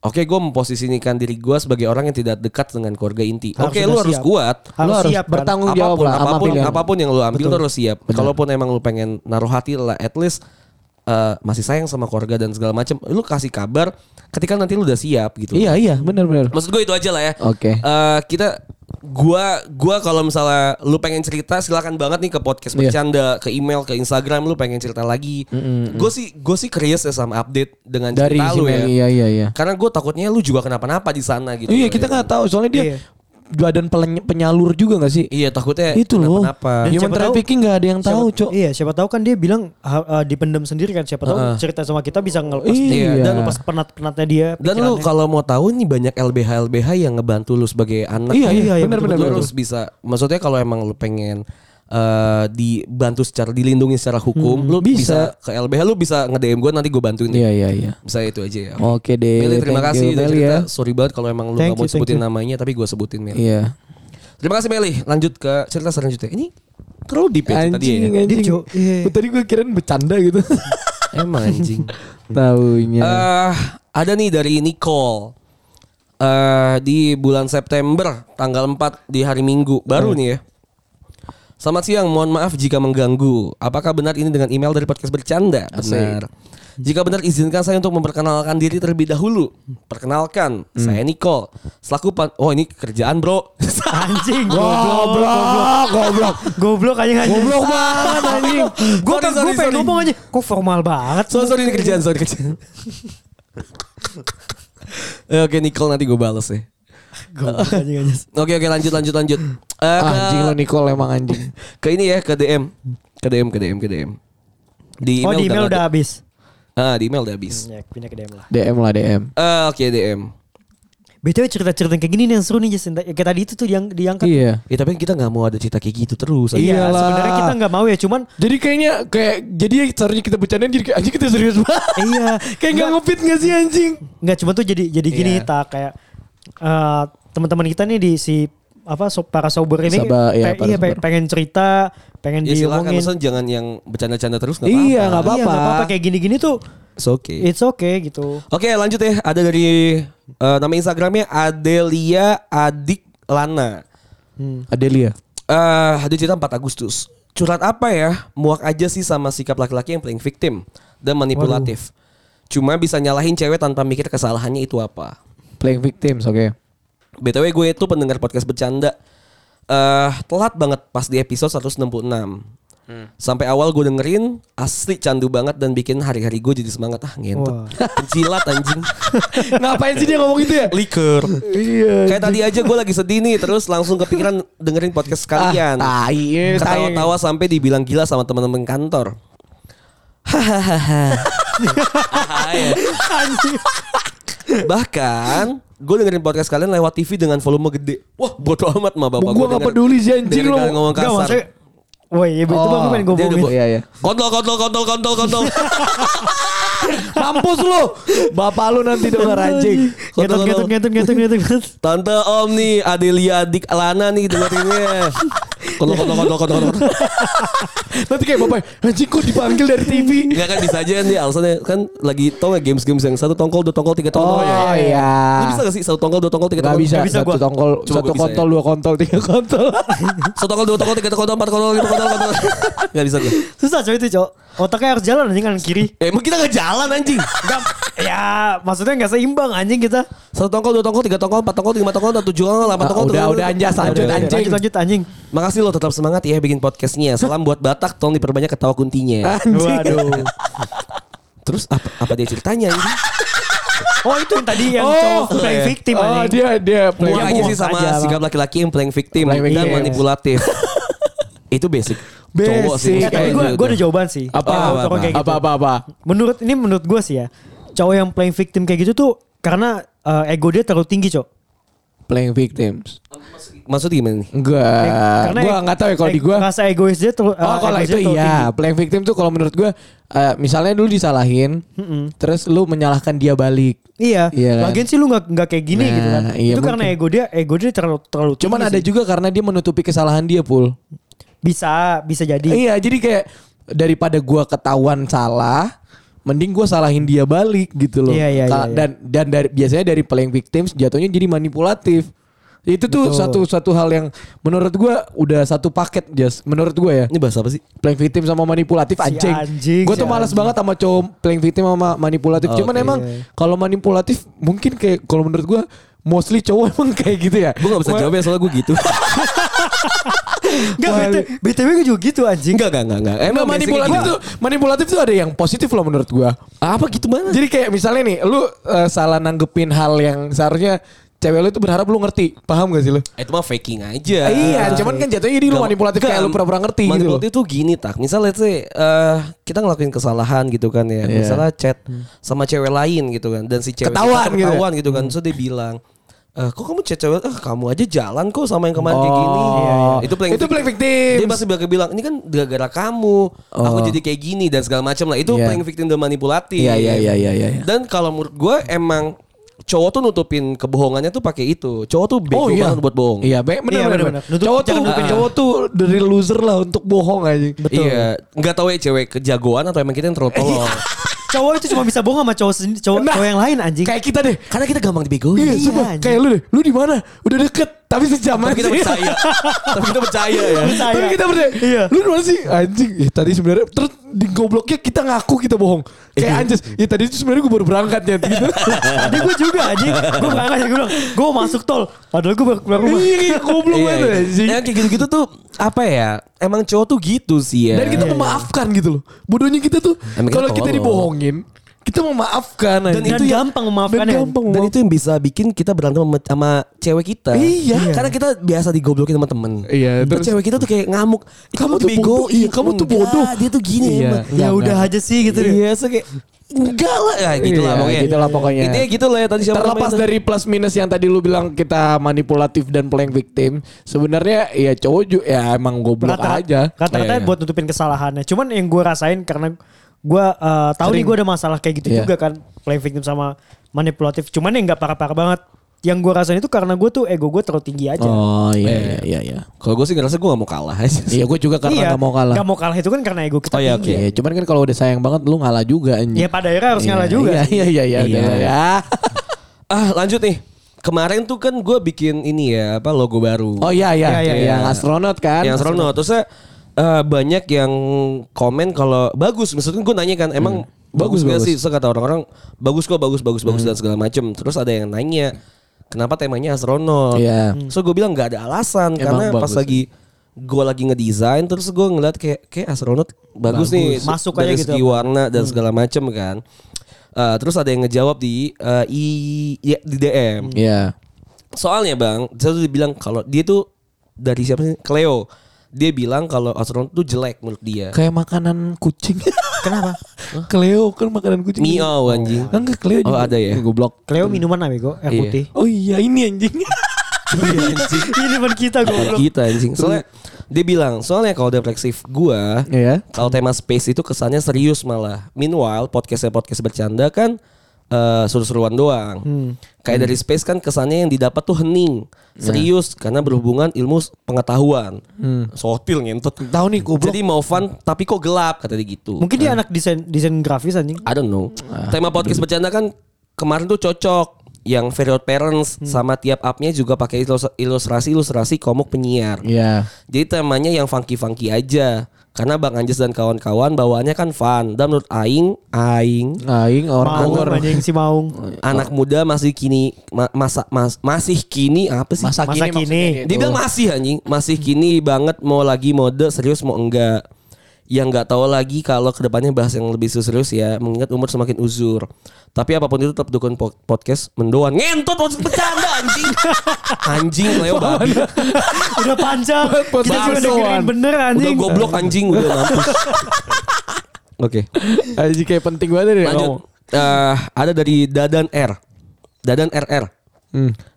S2: Oke, gue memposisikan diri gua sebagai orang yang tidak dekat dengan keluarga inti.
S4: Harus
S2: Oke,
S4: udah
S2: lu harus
S4: siap.
S2: kuat.
S4: Harus
S3: lu harus
S4: siap kan?
S3: bertanggung jawab
S2: Apapun,
S3: lah sama
S2: apapun,
S3: pilihan.
S2: apapun yang lu ambil
S3: Betul.
S2: lu harus siap. Kalaupun emang lu pengen naruh hati lah, at least eh, masih sayang sama keluarga dan segala macam. Lu kasih kabar ketika nanti lu udah siap gitu.
S3: iya iya benar benar
S2: Maksud gue itu aja lah ya.
S3: Oke.
S2: Eh, kita gua gua kalau misalnya lu pengen cerita silakan banget nih ke podcast
S3: Iya.
S2: bercanda, ke email, ke Instagram lu pengen cerita lagi. Gue sih gue sih curious ya sama update dengan
S3: mm. dari
S2: cerita
S3: si
S2: lu ya.
S3: Meli iya iya iya
S2: Karena gue takutnya lu juga kenapa-napa di sana gitu.
S3: iya kita nggak tahu soalnya dia
S4: Iya.
S3: badan pelen- penyalur juga nggak sih
S2: Iya takutnya
S3: itu loh Ya,
S2: kenapa-napa.
S3: human
S4: Dan Iya, siapa tahu-
S3: trafficking nggak ada yang tahu cok
S4: Iya, siapa tahu kan dia bilang ha- eh, dipendam sendiri kan. Siapa tahu cerita sama kita bisa ngelepas
S3: Iya.
S4: dia, dan lepas penat-penatnya dia.
S2: Dan lu
S4: pikirannya.
S2: kalau mau tahu nih banyak LBH LBH yang ngebantu lu sebagai anak.
S3: Iya,
S2: ya.
S3: iya, iya,
S2: Lu
S3: benar, benar,
S2: betul-betul
S3: benar.
S2: harus bisa. Maksudnya kalau emang lu pengen eh, dibantu secara dilindungi secara hukum, lu bisa. ke LBH lu bisa nge-DM gue nanti gue bantuin.
S3: Hmm, iya iya iya
S2: Bisa itu aja ya.
S3: oke deh
S2: Meli terima
S3: Thank
S2: kasih
S3: you,
S2: udah
S3: Meli
S2: cerita.
S3: ya
S2: Sorry banget kalau emang lu gak
S4: Thank
S2: mau
S4: you, thank
S2: sebutin namanya tapi gue sebutin Meli.
S3: iya
S2: Terima kasih Meli. Lanjut ke cerita selanjutnya. Ini terlalu deep ya cerita dia
S3: anjing
S2: ya.
S3: anjing
S4: Dia, Cok. Iya.
S3: Gua tadi gue kirain bercanda *laughs* gitu
S2: *laughs* Emang anjing.
S3: Taunya.
S2: Eh, ada nih dari Nicole. Eh di bulan September tanggal 4 di hari Minggu baru nih ya. Selamat siang, mohon maaf jika mengganggu. Apakah benar ini dengan email dari podcast bercanda? Benar. Jika benar izinkan saya untuk memperkenalkan diri terlebih dahulu. Perkenalkan, saya Nicole. Selaku pan Oh, ini kerjaan, Bro.
S4: Anjing.
S3: Goblok, goblok.
S4: Goblok anjing anjing.
S3: Goblok banget anjing.
S4: Gue
S2: Sorry,
S4: kan
S2: sorry,
S4: gue pengen
S2: sorry.
S4: ngomong aja. Kok formal banget.
S2: sorry, sorry, ini kerjaan, sorry kerjaan. Eh, Oke, Nicole nanti gue bales ya.
S4: Goblok anjing anjing.
S2: Oke, oke, lanjut, lanjut, lanjut. *clears throat* Eh, ke-
S3: Anjing lu Nicole emang anjing.
S2: ke ini ya ke DM ke DM ke DM ke DM di
S4: Oh
S2: email,
S4: di email udah
S2: udah,
S4: habis.
S2: ah di email udah habis
S4: Ya, pindah ke DM lah.
S3: DM lah DM.
S2: Ah, oke DM
S4: BTW cerita-cerita kayak gini nih yang seru nih Jason. Ya, Kayak tadi itu tuh yang diangkat.
S3: Iya.
S2: ya tapi kita nggak mau ada cerita kayak gitu terus
S4: Iya,
S3: Iyalah.
S4: sebenarnya kita nggak mau ya, cuman
S3: Jadi kayaknya kayak jadi yang seharusnya kita bercandain jadi kayak anjing kita serius banget.
S4: iya,
S3: *laughs* kayak nggak ngefit nggak sih anjing?
S4: nggak cuma tuh jadi jadi gini
S2: Iya.
S4: tak kayak eh, teman-teman kita nih di si apa so, para sober ini
S3: Saba- iya,
S4: pe-
S3: para
S4: iya, pe-
S3: sober.
S4: pengen cerita, pengen
S2: ya silakan
S4: diomongin.
S2: Maksudnya jangan yang bercanda-canda terus nggak
S3: Iya nggak
S4: Iya,
S3: apa-apa.
S4: nggak apa-apa kayak gini-gini tuh
S2: It's okay.
S4: it's okay gitu.
S2: oke lanjut ya ada dari eh, nama instagramnya Adelia Adik Lana
S4: Hmm.
S3: Adelia.
S2: Eh, ada cerita 4 Agustus. Curhat apa ya? Muak aja sih sama sikap laki-laki yang playing victim dan manipulatif. Cuma bisa nyalahin cewek tanpa mikir kesalahannya itu apa.
S3: Playing victims, oke.
S2: BTW gue itu pendengar podcast bercanda. eh telat banget pas di episode 166. Sampai awal gue dengerin asli candu banget dan bikin hari-hari gue jadi semangat ah *laughs*
S4: Wah.
S2: ngentot. Penjilat anjing.
S3: *laughs* Ngapain sih dia ngomong gitu ya?
S2: Liker.
S3: Iya.
S2: Kayak tadi aja gue lagi sedih nih terus langsung kepikiran dengerin podcast
S3: Ah,
S2: kalian.
S3: tai, eh, tai.
S2: Ketawa-tawa sampai dibilang gila sama teman-teman kantor. Hahaha. Bahkan gue dengerin podcast kalian lewat TV dengan volume gede. Wah, bodo amat mah bapak.
S3: Gua nggak
S2: denger-
S3: peduli sih, anjing
S2: dengerin
S3: lu.
S2: kalian ngomong
S4: Nggak,
S2: kasar.
S4: maksudnya- Woi, itu
S3: Oh,
S4: bang gue pengen
S3: dia
S2: Dia udah
S4: ngomongin.
S2: bu-
S3: Iya, iya.
S2: Kontol, kontol, kontol, kontol,
S3: *laughs*
S2: kontol.
S3: Mampus lu. Bapak lu nanti denger anjing.
S4: Ngetut, ngetut, ngetut, ngetut, ngetut, ngetut.
S2: Tante Om nih, Adelia Dik Alana nih dengerinnya. Kontol, kontol, kontol, kontol, kontol.
S3: Nanti kayak bapak, anjing kok dipanggil dari TV.
S2: Enggak kan bisa aja nih alasannya kan lagi tau gak games-games yang satu tongkol, dua tongkol, tiga tongkol.
S3: Oh,
S2: ya?
S3: iya.
S2: Lu bisa gak sih satu tongkol, dua tongkol, tiga
S3: Gak
S2: tongkol?
S3: bisa,
S2: Nggak
S3: satu
S4: gua.
S3: tongkol,
S2: Coba
S3: satu
S2: gua bisa
S3: kontol, dua kontol, tiga kontol.
S2: Satu tongkol, dua tongkol, tiga tongkol, empat tongkol, lima tongkol, enam tongkol. Gak bisa gue.
S4: Susah coy itu, Cok. Otaknya harus jalan anjing kanan kiri.
S2: Ya emang kita gak jalan anjing.
S4: Enggak, ya maksudnya nggak seimbang anjing kita.
S2: Satu tongkol, dua tongkol, tiga tongkol, empat tongkol, lima tongkol, tujuh tongkol, delapan
S3: Ah,
S2: tongkol.
S3: udah,
S2: tongkol,
S3: udah,
S2: tongkol.
S3: anjas, lanjut,
S2: Udah, udah,
S3: anjing.
S4: Lanjut lanjut anjing.
S2: udah. Makasih lo tetap semangat ya bikin podcastnya. Salam buat Batak, tolong diperbanyak ketawa
S3: Ah.
S2: kuntinya.
S4: Waduh.
S2: Terus apa, apa dia ceritanya anjing?
S4: Oh itu yang tadi yang
S3: Oh,
S4: cowok
S2: iya.
S4: playing victim
S3: Oh,
S4: anjing.
S3: dia, dia.
S2: Muak
S3: Iya,
S2: aja
S3: muak
S2: sih sama
S3: aja lah.
S2: sikap laki-laki yang playing victim
S3: Playing
S2: dan
S3: victim.
S2: manipulatif. *laughs* Itu basic. Cowok sih.
S3: Basic.
S4: Eh, tapi
S2: Kayak
S4: gue
S2: gitu.
S4: gue ada jawaban sih.
S3: Apa,
S4: Kalau
S2: apa,
S4: cowok kayak gitu.
S3: Apa, apa, apa.
S4: Menurut ini menurut gue sih ya, cowok yang playing victim kayak gitu tuh karena eh, ego dia terlalu tinggi cok.
S3: Playing victims.
S2: Maksudnya gimana nih?
S3: Enggak.
S4: Karena
S3: Eh, Gua
S4: e-
S3: nggak tahu ya kalau di
S4: e-
S3: gua.
S4: Rasa egois dia terlalu.
S3: Oh, kalau itu
S4: gitu.
S3: iya. Playing victim tuh kalau menurut gua eh, misalnya dulu disalahin, terus lu menyalahkan dia balik.
S4: Iya.
S3: Iya kan?
S4: Lagian sih lu nggak nggak kayak gini
S3: Nah,
S4: gitu kan.
S3: iya
S4: itu karena
S3: mungkin.
S4: ego dia ego dia terlalu terlalu.
S3: Cuman
S4: tinggi
S3: ada
S4: sih.
S3: juga karena dia menutupi kesalahan dia, Pul.
S4: bisa bisa jadi.
S3: Iya, jadi kayak daripada gua ketahuan salah, mending gua salahin dia balik gitu loh.
S4: Iya, iya,
S3: Ka-
S4: iya, iya.
S3: Dan dan dari, biasanya dari playing victims jatuhnya jadi manipulatif. Itu tuh
S4: Betul.
S3: satu satu hal yang menurut gua udah satu paket, Jas. Menurut gua ya.
S2: Ini bahasa apa sih?
S3: Playing victim sama manipulatif anjing.
S4: anjing,
S3: Gue
S4: si
S3: tuh malas
S4: anjing. Oh, iya,
S3: banget sama cowok playing victim sama manipulatif. Cuman
S2: Oke.
S3: emang kalau manipulatif mungkin kayak kalau menurut gue mostly cowok emang *laughs* kayak gitu ya.
S2: Gue gak bisa jawab ya soalnya gue
S3: *laughs*
S2: gitu.
S4: Enggak BTW gue juga gitu anjing.
S2: Enggak, enggak, enggak, enggak.
S3: Emang
S2: basicnya
S3: manipulatif
S2: gitu.
S3: tuh manipulatif tuh ada yang positif loh menurut gua.
S2: Apa gitu mana?
S3: Jadi kayak misalnya nih lu eh, salah nanggepin hal yang seharusnya cewek lu itu berharap lu ngerti. Paham gak sih lu?
S2: Eh, Itu mah faking aja.
S3: iya, cuman kan jatuhnya jadi lu manipulatif kayak lu pura-pura ngerti gitu loh.
S2: manipulatif tuh gini tak. Misal let's say eh, kita ngelakuin kesalahan gitu kan ya.
S3: Iya.
S2: Misalnya chat sama cewek lain gitu kan dan si cewek kita
S3: Ketahuan gitu.
S2: ketahuan gitu, kan. So dia bilang "Eh, kok kamu chat cewek? Eh, kamu aja jalan kok sama yang kemarin kayak gini.
S3: Iya, iya.
S2: Itu playing
S3: Itu playing victim. Oh.
S2: Dia pasti bakal bilang ini kan gara-gara kamu. Aku jadi kayak gini dan segala macam lah. Itu
S3: Iya.
S2: playing victim dan manipulatif.
S3: Iya, iya, iya, iya, iya.
S2: Dan kalau menurut gue emang cowok tuh nutupin kebohongannya tuh pakai itu. Cowok tuh bego banget buat bohong.
S3: Oh, Iya, baik benar
S4: Iya,
S3: benar.
S4: benar,
S3: benar.
S4: benar.
S3: Cowok tuh
S4: Jangan ah. nutupin.
S3: cowok tuh the real loser lah untuk bohong aja.
S2: Iya, nggak tahu ya cewek kejagoan atau emang kita yang terlalu tolol.
S4: cowok itu cuma bisa bohong sama cowok sendi- cowok,
S3: Nah.
S4: cowok yang lain anjing.
S3: Kayak kita deh.
S2: Karena kita gampang dibegoin.
S3: Iya,
S4: Iya,
S3: sumpah.
S4: anjing.
S3: Kayak lu deh. Lu di mana? Udah deket. Tapi sejam
S2: Tapi kita
S3: aja.
S2: percaya. Tapi kita percaya ya.
S3: *laughs*
S4: Percaya.
S3: Tapi kita bener
S4: Iya.
S3: Lu dimana sih Anjing ya, Tadi sebenarnya Terus di gobloknya kita ngaku kita bohong Kayak
S2: Iya.
S3: anjing Ya tadi itu sebenarnya gue baru berangkat ya gitu.
S2: *laughs*
S4: Tadi gue juga anjing. Gue berangkat gue bilang, gue masuk tol. Padahal gue baru keluar rumah.
S3: Iya iya, goblok
S2: Iya,
S3: banget
S2: iya.
S3: anjing
S2: Yang kayak gitu-gitu tuh apa ya? Emang cowok tuh gitu sih ya.
S3: Dan kita memaafkan gitu loh Bodohnya kita tuh
S2: Emang kita
S3: Kalau kita
S2: tolol.
S3: dibohongin Kita memaafkan
S4: Dan itu gampang memaafkan
S3: Dan
S4: ya.
S3: gampang
S2: Dan itu yang bisa bikin kita berantem sama, sama cewek kita.
S3: Iya.
S2: Karena kita biasa digoblokin sama temen.
S3: Iya,
S2: Terus
S3: terus-
S2: cewek kita tuh kayak ngamuk. "Ih,
S3: Kamu tuh
S2: bego,
S3: bodoh, iya,
S2: ih,
S3: kamu tuh
S2: enggak,
S3: bodoh."
S2: Dia tuh gini
S3: Iya.
S2: emang.
S4: Ya
S3: Enggak,
S4: udah aja sih gitu deh.
S2: Iya, so kayak enggak lah. Ya, gitu lah
S3: Iya,
S2: pokoknya.
S3: gitu lah pokoknya.
S2: Intinya gitu lah ya tadi siapa
S3: Terlepas
S2: namanya?
S3: dari plus minus yang tadi lu bilang kita manipulatif dan playing victim, sebenarnya ya cowok juga ya emang goblok
S4: Rata-
S3: aja.
S4: Rata-rata
S2: Iya, iya.
S4: buat nutupin kesalahannya. Cuman yang gue rasain karena gue eh, tahu nih gue ada masalah kayak gitu
S3: Iya.
S4: juga kan, playing victim sama manipulatif. Cuman yang nggak parah-parah banget. Yang gue rasain itu karena gue tuh ego gue terlalu tinggi aja.
S3: Oh iya
S2: Iya,
S3: iya iya. Iya,
S2: Kalau gue sih ngerasa gue gak mau kalah aja.
S3: iya gue juga karena
S4: Iya,
S3: nggak mau kalah.
S4: Nggak mau kalah itu kan karena ego
S2: Oh,
S4: kita
S2: iya,
S4: tinggi.
S2: oke.
S3: Iya, cuman kan kalau udah sayang banget lu ngalah juga anjing.
S4: Ya pada akhirnya harus ngalah
S3: Iya,
S4: juga.
S3: Iya iya iya iya.
S2: Iya.
S3: udah lah ya. *laughs*
S2: Ah lanjut nih. Kemarin tuh kan gue bikin ini ya apa logo baru.
S3: Oh iya iya
S4: Iya,
S3: iya
S4: iya, iya.
S3: yang astronot kan.
S2: yang astronot. Terusnya eh, banyak yang komen kalau bagus. Maksudnya gue nanya kan emang bagus,
S3: Hmm. Bagus,
S2: nggak
S3: bagus. Hmm.
S2: sih? Terus kata orang-orang bagus kok bagus bagus bagus dan segala macem. Terus ada yang nanya kenapa temanya astronot.
S3: Iya.
S2: So gue bilang nggak ada alasan
S3: Emang
S2: karena pas
S3: bagus.
S2: lagi gue lagi ngedesain terus gue ngeliat kayak kayak astronot bagus, nih
S4: Masuk
S2: dari
S4: aja gitu.
S2: segi warna dan
S3: Hmm.
S2: segala macem kan. Eh, terus ada yang ngejawab di eh, i, ya, di DM.
S3: Iya.
S2: Soalnya bang, satu dibilang kalau dia tuh dari siapa sih? Cleo. Dia bilang kalau astronot tuh jelek menurut dia.
S3: Kayak makanan
S2: *laughs*
S3: kucing.
S4: Kenapa?
S3: Cleo kan makanan kucing.
S2: Miau anjing.
S3: Enggak Cleo
S2: Oh,
S3: juga.
S2: ada ya?
S3: Goblok.
S4: Cleo minuman apa Bego? Air
S2: Iya.
S3: *laughs*
S4: putih.
S3: Oh iya ini
S2: *laughs*
S3: anjing.
S4: Ini buat kita
S2: Bukan
S4: goblok.
S2: kita gitu, anjing. Soalnya dia bilang, soalnya kalau refleksif gua,
S3: Iya.
S2: kalau tema space itu kesannya serius malah. Meanwhile, podcastnya podcast bercanda kan eh, seru-seruan doang.
S3: Hmm.
S2: Kayak dari space kan kesannya yang didapat tuh hening,
S3: Iya.
S2: serius karena berhubungan ilmu s- pengetahuan. Sotil ngentot.
S3: Hmm. Tahu nih goblok.
S2: Jadi mau fun tapi kok gelap kata dia gitu.
S4: Mungkin
S3: Iya.
S4: dia anak desain desain grafis anjing.
S2: I don't know. Tema podcast bercanda kan kemarin tuh cocok yang Fairlight Parents sama tiap up-nya juga pakai ilus- ilustrasi-ilustrasi komik penyiar.
S3: Iya.
S2: Jadi temanya yang funky-funky aja. Karena Bang Anjes dan kawan-kawan bawaannya kan fun. Dan menurut Aing, Aing
S3: Aing orang
S4: Maung
S3: Bogor.
S4: anjing si
S3: *laughs*
S4: Maung.
S2: anak muda masih kini ma- masa mas- masih kini apa sih?
S3: Masa
S4: Masa
S3: kini. maksudnya gitu.
S4: kini.
S3: dia
S2: Dia bilang
S3: bilang,
S2: masih anjing, masih kini banget mau lagi mode serius mau enggak. Yang nggak tahu lagi kalau kedepannya bahas yang lebih serius ya, mengingat umur semakin uzur. Tapi apapun itu tetap dukung po- podcast mendoan. Ngentot podcast bercanda anjing. anjing Leo babi.
S4: Udah panjang.
S3: Buat
S4: kita juga
S3: baksoan.
S4: dengerin bener
S2: Udah
S4: anjing.
S2: goblok anjing udah mampus. Oke,
S3: Anjing kayak penting banget deh kamu.
S2: lanjut. Eh, ada dari Dadan R. Dadan RR.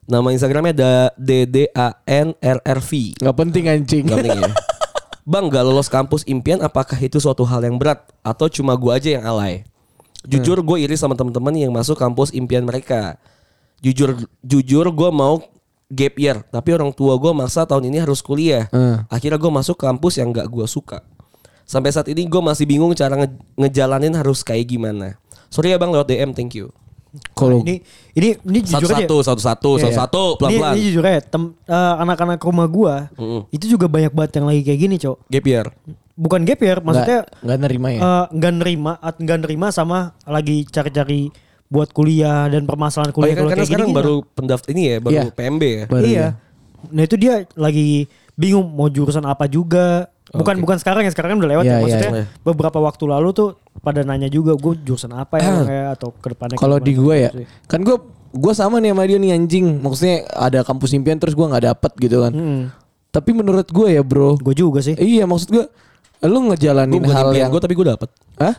S2: Nama Instagramnya ada DDANRRV.
S3: Gak penting anjing.
S2: Gak penting ya. *laughs* Bang gak lolos kampus impian apakah itu suatu hal yang berat atau cuma gua aja yang alay? Jujur
S4: Hmm.
S2: gue iri sama teman-teman yang masuk kampus impian mereka. Jujur jujur gue mau gap year tapi orang tua gue maksa tahun ini harus kuliah.
S3: Hmm.
S2: Akhirnya gue masuk kampus yang gak gue suka. Sampai saat ini gue masih bingung cara nge- ngejalanin harus kayak gimana. Sorry ya bang lewat DM thank you.
S3: Kalau
S4: Ini ini ini jujur aja.
S2: Satu-satu, satu-satu,
S4: Iya, iya.
S2: satu-satu,
S4: Ini-
S2: pelan-pelan.
S4: Ini, jujur aja, tem- eh, anak-anak rumah gua itu juga banyak banget yang lagi kayak gini, Cok.
S2: Gap year. Oh, ya kan,
S4: Bukan gap year, maksudnya
S3: nggak- nggak nerima ya.
S4: eh, nggak nerima at- nggak nerima sama lagi cari-cari buat kuliah dan permasalahan
S2: Oh
S4: kuliah
S2: iya kan, karena sekarang baru pendaft ini ya, baru
S3: Iya.
S2: PMB ya.
S3: Baru
S4: gitu. iya.
S3: ya.
S4: Nah itu dia lagi bingung mau jurusan apa juga. Bukan bukan sekarang ya sekarang kan udah lewat
S3: Iya,
S4: ya.
S3: iya,
S4: Maksudnya
S2: iya.
S4: beberapa waktu lalu tuh pada nanya juga gue jurusan apa ya kayak, atau ke depannya.
S3: Ah. Kalau
S4: kayak
S3: di
S4: gimana
S3: gue ya,
S4: gitu sih.
S3: kan gue gue sama nih sama dia nih anjing. Maksudnya ada kampus impian terus gue nggak dapet gitu kan.
S4: Hmm.
S3: Tapi menurut gue ya bro,
S4: Gue juga sih.
S3: iya maksud gue, lu ngejalanin
S2: Gue bukan
S3: hal
S2: impian
S3: yang,
S2: gue tapi gue dapet.
S3: Hah?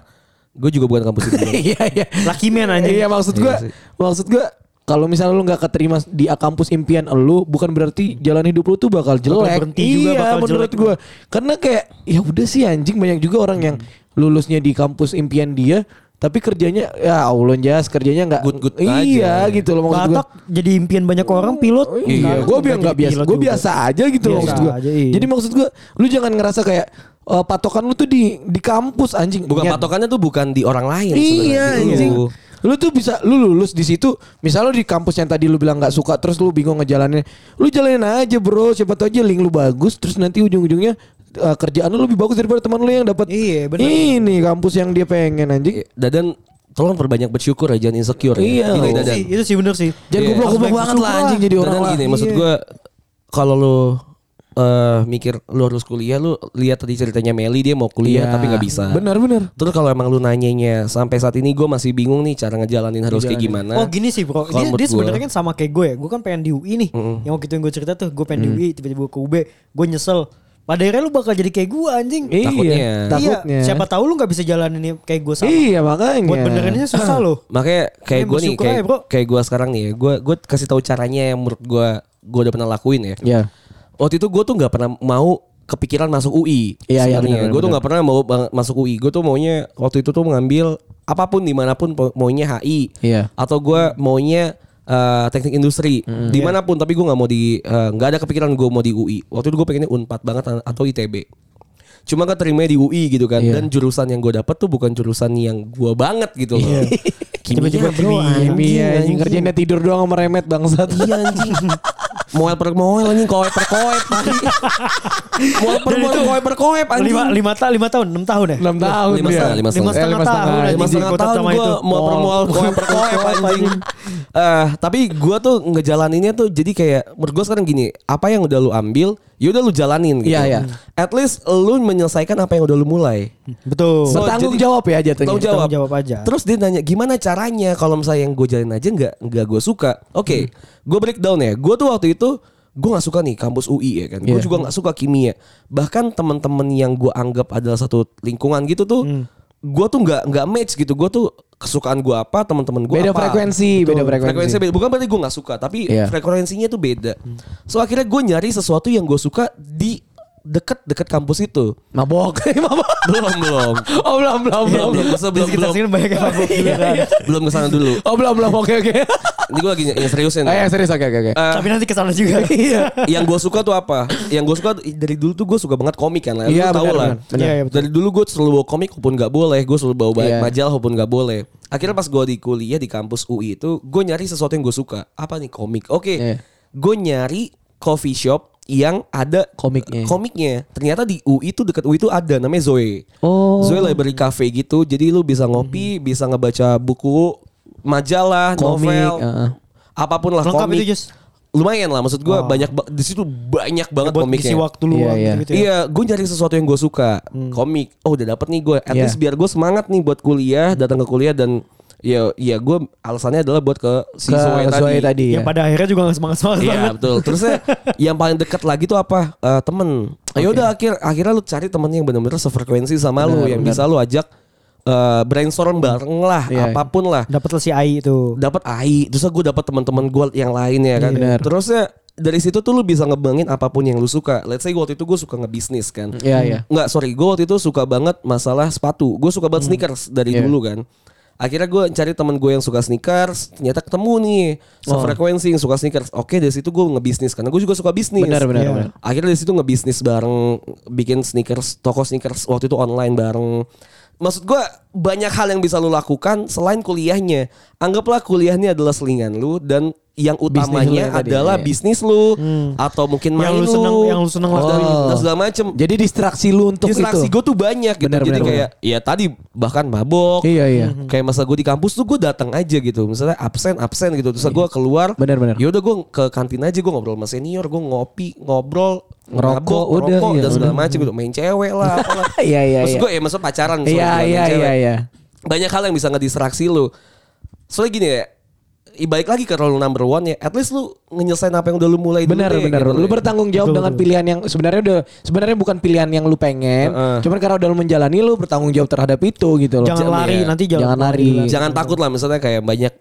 S2: Gue juga bukan kampus impian.
S3: Iya iya.
S4: Lucky man anjing.
S3: Iya maksud gue, maksud gue kalau misalnya lu nggak keterima di kampus impian lu bukan berarti jalan hidup lu tuh bakal jelek.
S4: berhenti
S3: iya,
S4: juga bakal
S3: menurut
S4: jelek.
S3: gue. Karena kayak ya udah sih anjing banyak juga orang yang
S4: Hmm.
S3: lulusnya di kampus impian dia tapi kerjanya ya Allah jas kerjanya nggak
S2: Good-good
S3: iya
S2: aja.
S3: gitu loh maksud gue.
S4: Batak jadi impian banyak orang pilot.
S3: Iya,
S4: Sekarang
S3: gue
S4: udah
S3: biar
S4: jadi
S3: nggak biasa,
S4: pilot
S3: gue
S4: juga.
S3: biasa aja gitu loh
S4: Biasa
S3: maksud gue.
S4: aja, iya.
S3: Jadi maksud gue, lu jangan ngerasa kayak eh, patokan lu tuh di di kampus anjing.
S2: *laughs* Bukan
S3: Niat-
S2: patokannya tuh bukan di orang lain
S3: Iya
S2: sebenarnya. Gitu.
S3: anjing.
S2: Lu.
S3: Lu tuh bisa lu lulus di situ, misal lu di kampus yang tadi lu bilang nggak suka terus lu bingung ngejalanin. Lu jalanin aja, Bro. Siapa tahu aja link lu bagus terus nanti ujung-ujungnya eh, kerjaan lu lebih bagus daripada teman lu yang dapat
S4: Iya, bener.
S3: ini kampus yang dia pengen anjing.
S2: Dadan tolong perbanyak bersyukur ya jangan insecure
S3: Iya.
S2: ya. Gini,
S4: Itu
S2: Dadan.
S4: sih, Oh, itu sih bener sih.
S3: Jangan
S2: Iya.
S3: goblok-goblok banget Iya. lah anjing jadi orang
S2: Dadan
S3: lah.
S2: gini gitu ya, maksud gue kalau lu eh, mikir lu harus kuliah lu lihat tadi ceritanya Meli dia mau kuliah
S3: Iya.
S2: tapi nggak bisa.
S3: Benar, benar.
S2: Terus kalau emang lu nanyanya sampai saat ini gue masih bingung nih cara ngejalanin harus kayak gimana.
S4: oh gini sih bro,
S2: Kalau
S4: dia,
S2: menurut
S4: dia
S2: Nah, gua-
S4: sebenarnya kan sama kayak gue ya. Gue kan pengen di UI nih. Yang waktu itu yang gue cerita tuh, gue pengen di UI, tiba-tiba ke UB, gue nyesel. Pada akhirnya lu bakal jadi kayak gue anjing.
S3: Iya,
S2: Takutnya.
S3: takutnya.
S4: Iya, siapa tahu lu nggak bisa jalanin kayak gue sama.
S3: Iya, makanya.
S4: Buat benerinnya susah loh.
S2: Makanya kayak
S4: Ya,
S2: gue nih
S4: bersyukur
S2: kayak
S4: aja, bro.
S2: kayak gue sekarang nih ya. Gue gue kasih tahu caranya yang menurut gue gue udah pernah lakuin ya.
S3: Iya.
S2: Waktu itu gue tuh nggak pernah mau kepikiran masuk UI.
S3: Iya, iya, benar,
S2: Gue tuh
S3: benar.
S2: nggak pernah mau bang- masuk UI. Gue tuh maunya waktu itu tuh mengambil apapun dimanapun po- maunya HI.
S3: Iya.
S2: Atau gue maunya eh, teknik industri
S4: Mm-hmm.
S2: dimanapun tapi gue nggak mau di eh, nggak ada kepikiran gue mau di UI waktu itu gue pengennya unpad banget a- atau itb cuma gak terima di UI gitu kan
S4: Iya.
S2: dan jurusan yang gue dapet tuh bukan jurusan yang gue banget gitu loh *laughs*
S4: Tiba-tiba
S2: bro,
S4: Iya. kimia,
S2: anjing,
S3: Iya, anjing
S2: anjing.
S3: kerjanya tidur doang sama remet bangsat.
S2: Iya anjing. Moel per moel anjing koep per koep anjing.
S4: *laughs*
S2: Moel per moel koep per koep anjing.
S4: Lima, lima, ta- lima tahun, enam tahun ya?
S3: 6 tahun
S2: lima
S3: dia.
S2: setengah, lima setengah.
S4: Lima setengah
S3: Eh, lima
S4: tahun
S3: setengah.
S4: anjing
S2: Lima setengah Iya,
S4: dikotak
S2: tahun
S4: sama
S2: gue moel per moel koep per koep anjing. Eh, tapi gue tuh ngejalaninnya tuh jadi kayak menurut gue sekarang gini, apa yang udah lu ambil, ya udah lu jalanin gitu.
S3: Iya, iya.
S2: At least lu menyelesaikan apa yang udah lu mulai.
S4: Hmm. Betul.
S2: So,
S3: Bertanggung
S2: jadi-
S3: jawab ya jatuhnya.
S2: Tanggung jawab.
S4: Tanggung jawab aja.
S2: Terus dia nanya gimana caranya kalau misalnya yang gue jalin aja nggak nggak gue suka. Oke, gue breakdown ya. Gue tuh waktu itu gue nggak suka nih kampus UI ya kan. Gue
S3: Iya.
S2: juga nggak suka kimia. Bahkan teman-teman yang gue anggap adalah satu lingkungan gitu tuh, gue tuh nggak nggak match gitu. Gue tuh kesukaan gue apa, teman-teman gue
S3: Beda
S2: apa.
S3: frekuensi, beda frekuensi.
S2: beda. Bukan berarti gue nggak suka, tapi
S3: Iya.
S2: frekuensinya tuh beda. So akhirnya gue nyari sesuatu yang gue suka di deket-deket kampus itu.
S3: Mabok, *laughs* mabok.
S2: Belum belum.
S3: Oh belum belum
S2: belum
S3: belum.
S2: belum Masa
S4: Di
S2: belum
S4: sekitar
S2: belum Iya.
S4: sini banyak yang mabuk
S3: Iya,
S4: giliran.
S2: Kan? belum kesana
S3: *laughs*
S2: dulu
S3: Oh belum belum oke oke.
S2: ini gue lagi yang seriusin
S3: Eh serius oke oke oke.
S2: Eh,
S4: Tapi nanti kesana juga.
S2: yang gue suka tuh apa yang gue suka dari dulu tuh gue suka banget komik kan lah
S3: Iya,
S2: lu tau
S3: benar,
S2: lah
S3: benar, benar.
S4: Iya, iya, betul.
S2: dari dulu gue selalu bawa komik walaupun nggak boleh gue selalu bawa
S3: Iya.
S2: majalah walaupun nggak boleh akhirnya pas gue di kuliah di kampus UI itu gue nyari sesuatu yang gue suka apa nih komik oke
S3: Iya.
S2: gue nyari coffee shop yang ada
S3: Komiknya.
S2: komiknya ternyata di UI tuh dekat UI tuh ada namanya Zoe
S3: Oh. Mhm.
S2: Zoe Library Cafe gitu jadi lu bisa ngopi bisa ngebaca buku majalah
S3: Komik,
S2: novel
S3: heeh.
S2: apapun lah
S4: Lengkap
S2: komik
S4: itu, Jus.
S2: lumayan lah maksud gue banyak ba- di situ banyak banget
S4: Buat
S2: komiknya
S4: ngisi waktu
S3: Iya,
S4: luang
S3: iya.
S4: gitu-gitu ya. Hmm.
S2: Iya, gue nyari sesuatu yang gue suka. Komik. Oh, udah dapet nih gue. At
S3: Iya.
S2: least biar gue semangat nih buat kuliah, datang ke kuliah dan ya, ya gue alasannya adalah buat ke si
S3: Ke
S2: Zoe
S3: Zoe
S2: tadi.
S3: tadi
S4: Yang
S3: ya.
S4: pada akhirnya juga gak semangat-semangat banget.
S2: Iya betul.
S4: *laughs*
S2: Terusnya yang paling dekat lagi tuh apa? Eh, temen. Ya udah akhir akhirnya lu cari temen yang benar-benar sefrekuensi sama lu yang bisa lu ajak eh, brainstorm bareng lah,
S3: Iya.
S2: apapun lah.
S4: Dapat lah si AI itu.
S2: dapat AI terus gue dapat teman-teman gue yang lainnya kan
S3: Bener.
S2: terusnya dari situ tuh lu bisa ngebangin apapun yang lu suka let's say gue waktu itu gue suka ngebisnis kan
S3: Iya, iya.
S2: nggak sorry gue waktu itu suka banget masalah sepatu gue suka banget sneakers dari
S3: Iya.
S2: dulu kan akhirnya gue cari teman gue yang suka sneakers ternyata ketemu nih sefrekuensi yang suka sneakers oke dari situ gue ngebisnis karena gue juga suka bisnis
S3: Benar, benar,
S4: Iya.
S3: benar.
S2: akhirnya dari situ ngebisnis bareng bikin sneakers toko sneakers waktu itu online bareng maksud gua banyak hal yang bisa lu lakukan selain kuliahnya anggaplah kuliahnya adalah selingan lu dan yang
S3: lu ya
S2: utamanya
S3: tadi, iya.
S2: adalah
S3: Hmm.
S2: bisnis lu atau mungkin
S4: Yang
S2: main
S4: lu seneng- yang lu seneng
S2: dan,
S4: lakuin.
S2: dan segala macem
S3: Oh. Jadi distraksi lu untuk
S2: distraksi
S3: itu.
S2: gue tuh banyak gitu
S3: Benar,
S2: jadi
S3: benar,
S2: kayak ya tadi bahkan mabok
S3: Iya, iya.
S2: Mhm. kayak masa gue di kampus tuh gue datang aja gitu misalnya absen absen gitu terus gue
S3: Iya.
S2: keluar
S3: Benar, benar.
S2: ya udah gue ke kantin aja gue ngobrol sama senior gue ngopi ngobrol
S3: Ngerokok,
S2: mabok,
S3: udah,
S2: ngerokok,
S3: iya,
S2: dan segala
S3: udah.
S2: macam gitu main cewek lah
S3: *laughs*
S2: apalah.
S3: Iya iya
S2: Maksud
S3: iya.
S2: gue ya masa pacaran sorry,
S3: Iya
S2: bukan main
S3: iya
S2: cewek.
S3: iya iya.
S2: banyak hal yang bisa ngedistraksi lu soalnya gini ya i- balik lagi ke role number one ya at least lu nyelesain apa yang udah lu mulai dulu
S3: Benar
S2: deh,
S3: benar.
S2: gitu
S3: Lu
S2: deh.
S3: bertanggung jawab dengan pilihan yang sebenarnya udah sebenarnya bukan pilihan yang lu pengen,
S2: Heeh.
S3: cuman karena udah lu menjalani lu bertanggung jawab terhadap itu gitu loh.
S4: Jangan lari,
S2: ya.
S4: nanti jangan,
S3: Jangan lari.
S2: jangan takut lah misalnya kayak banyak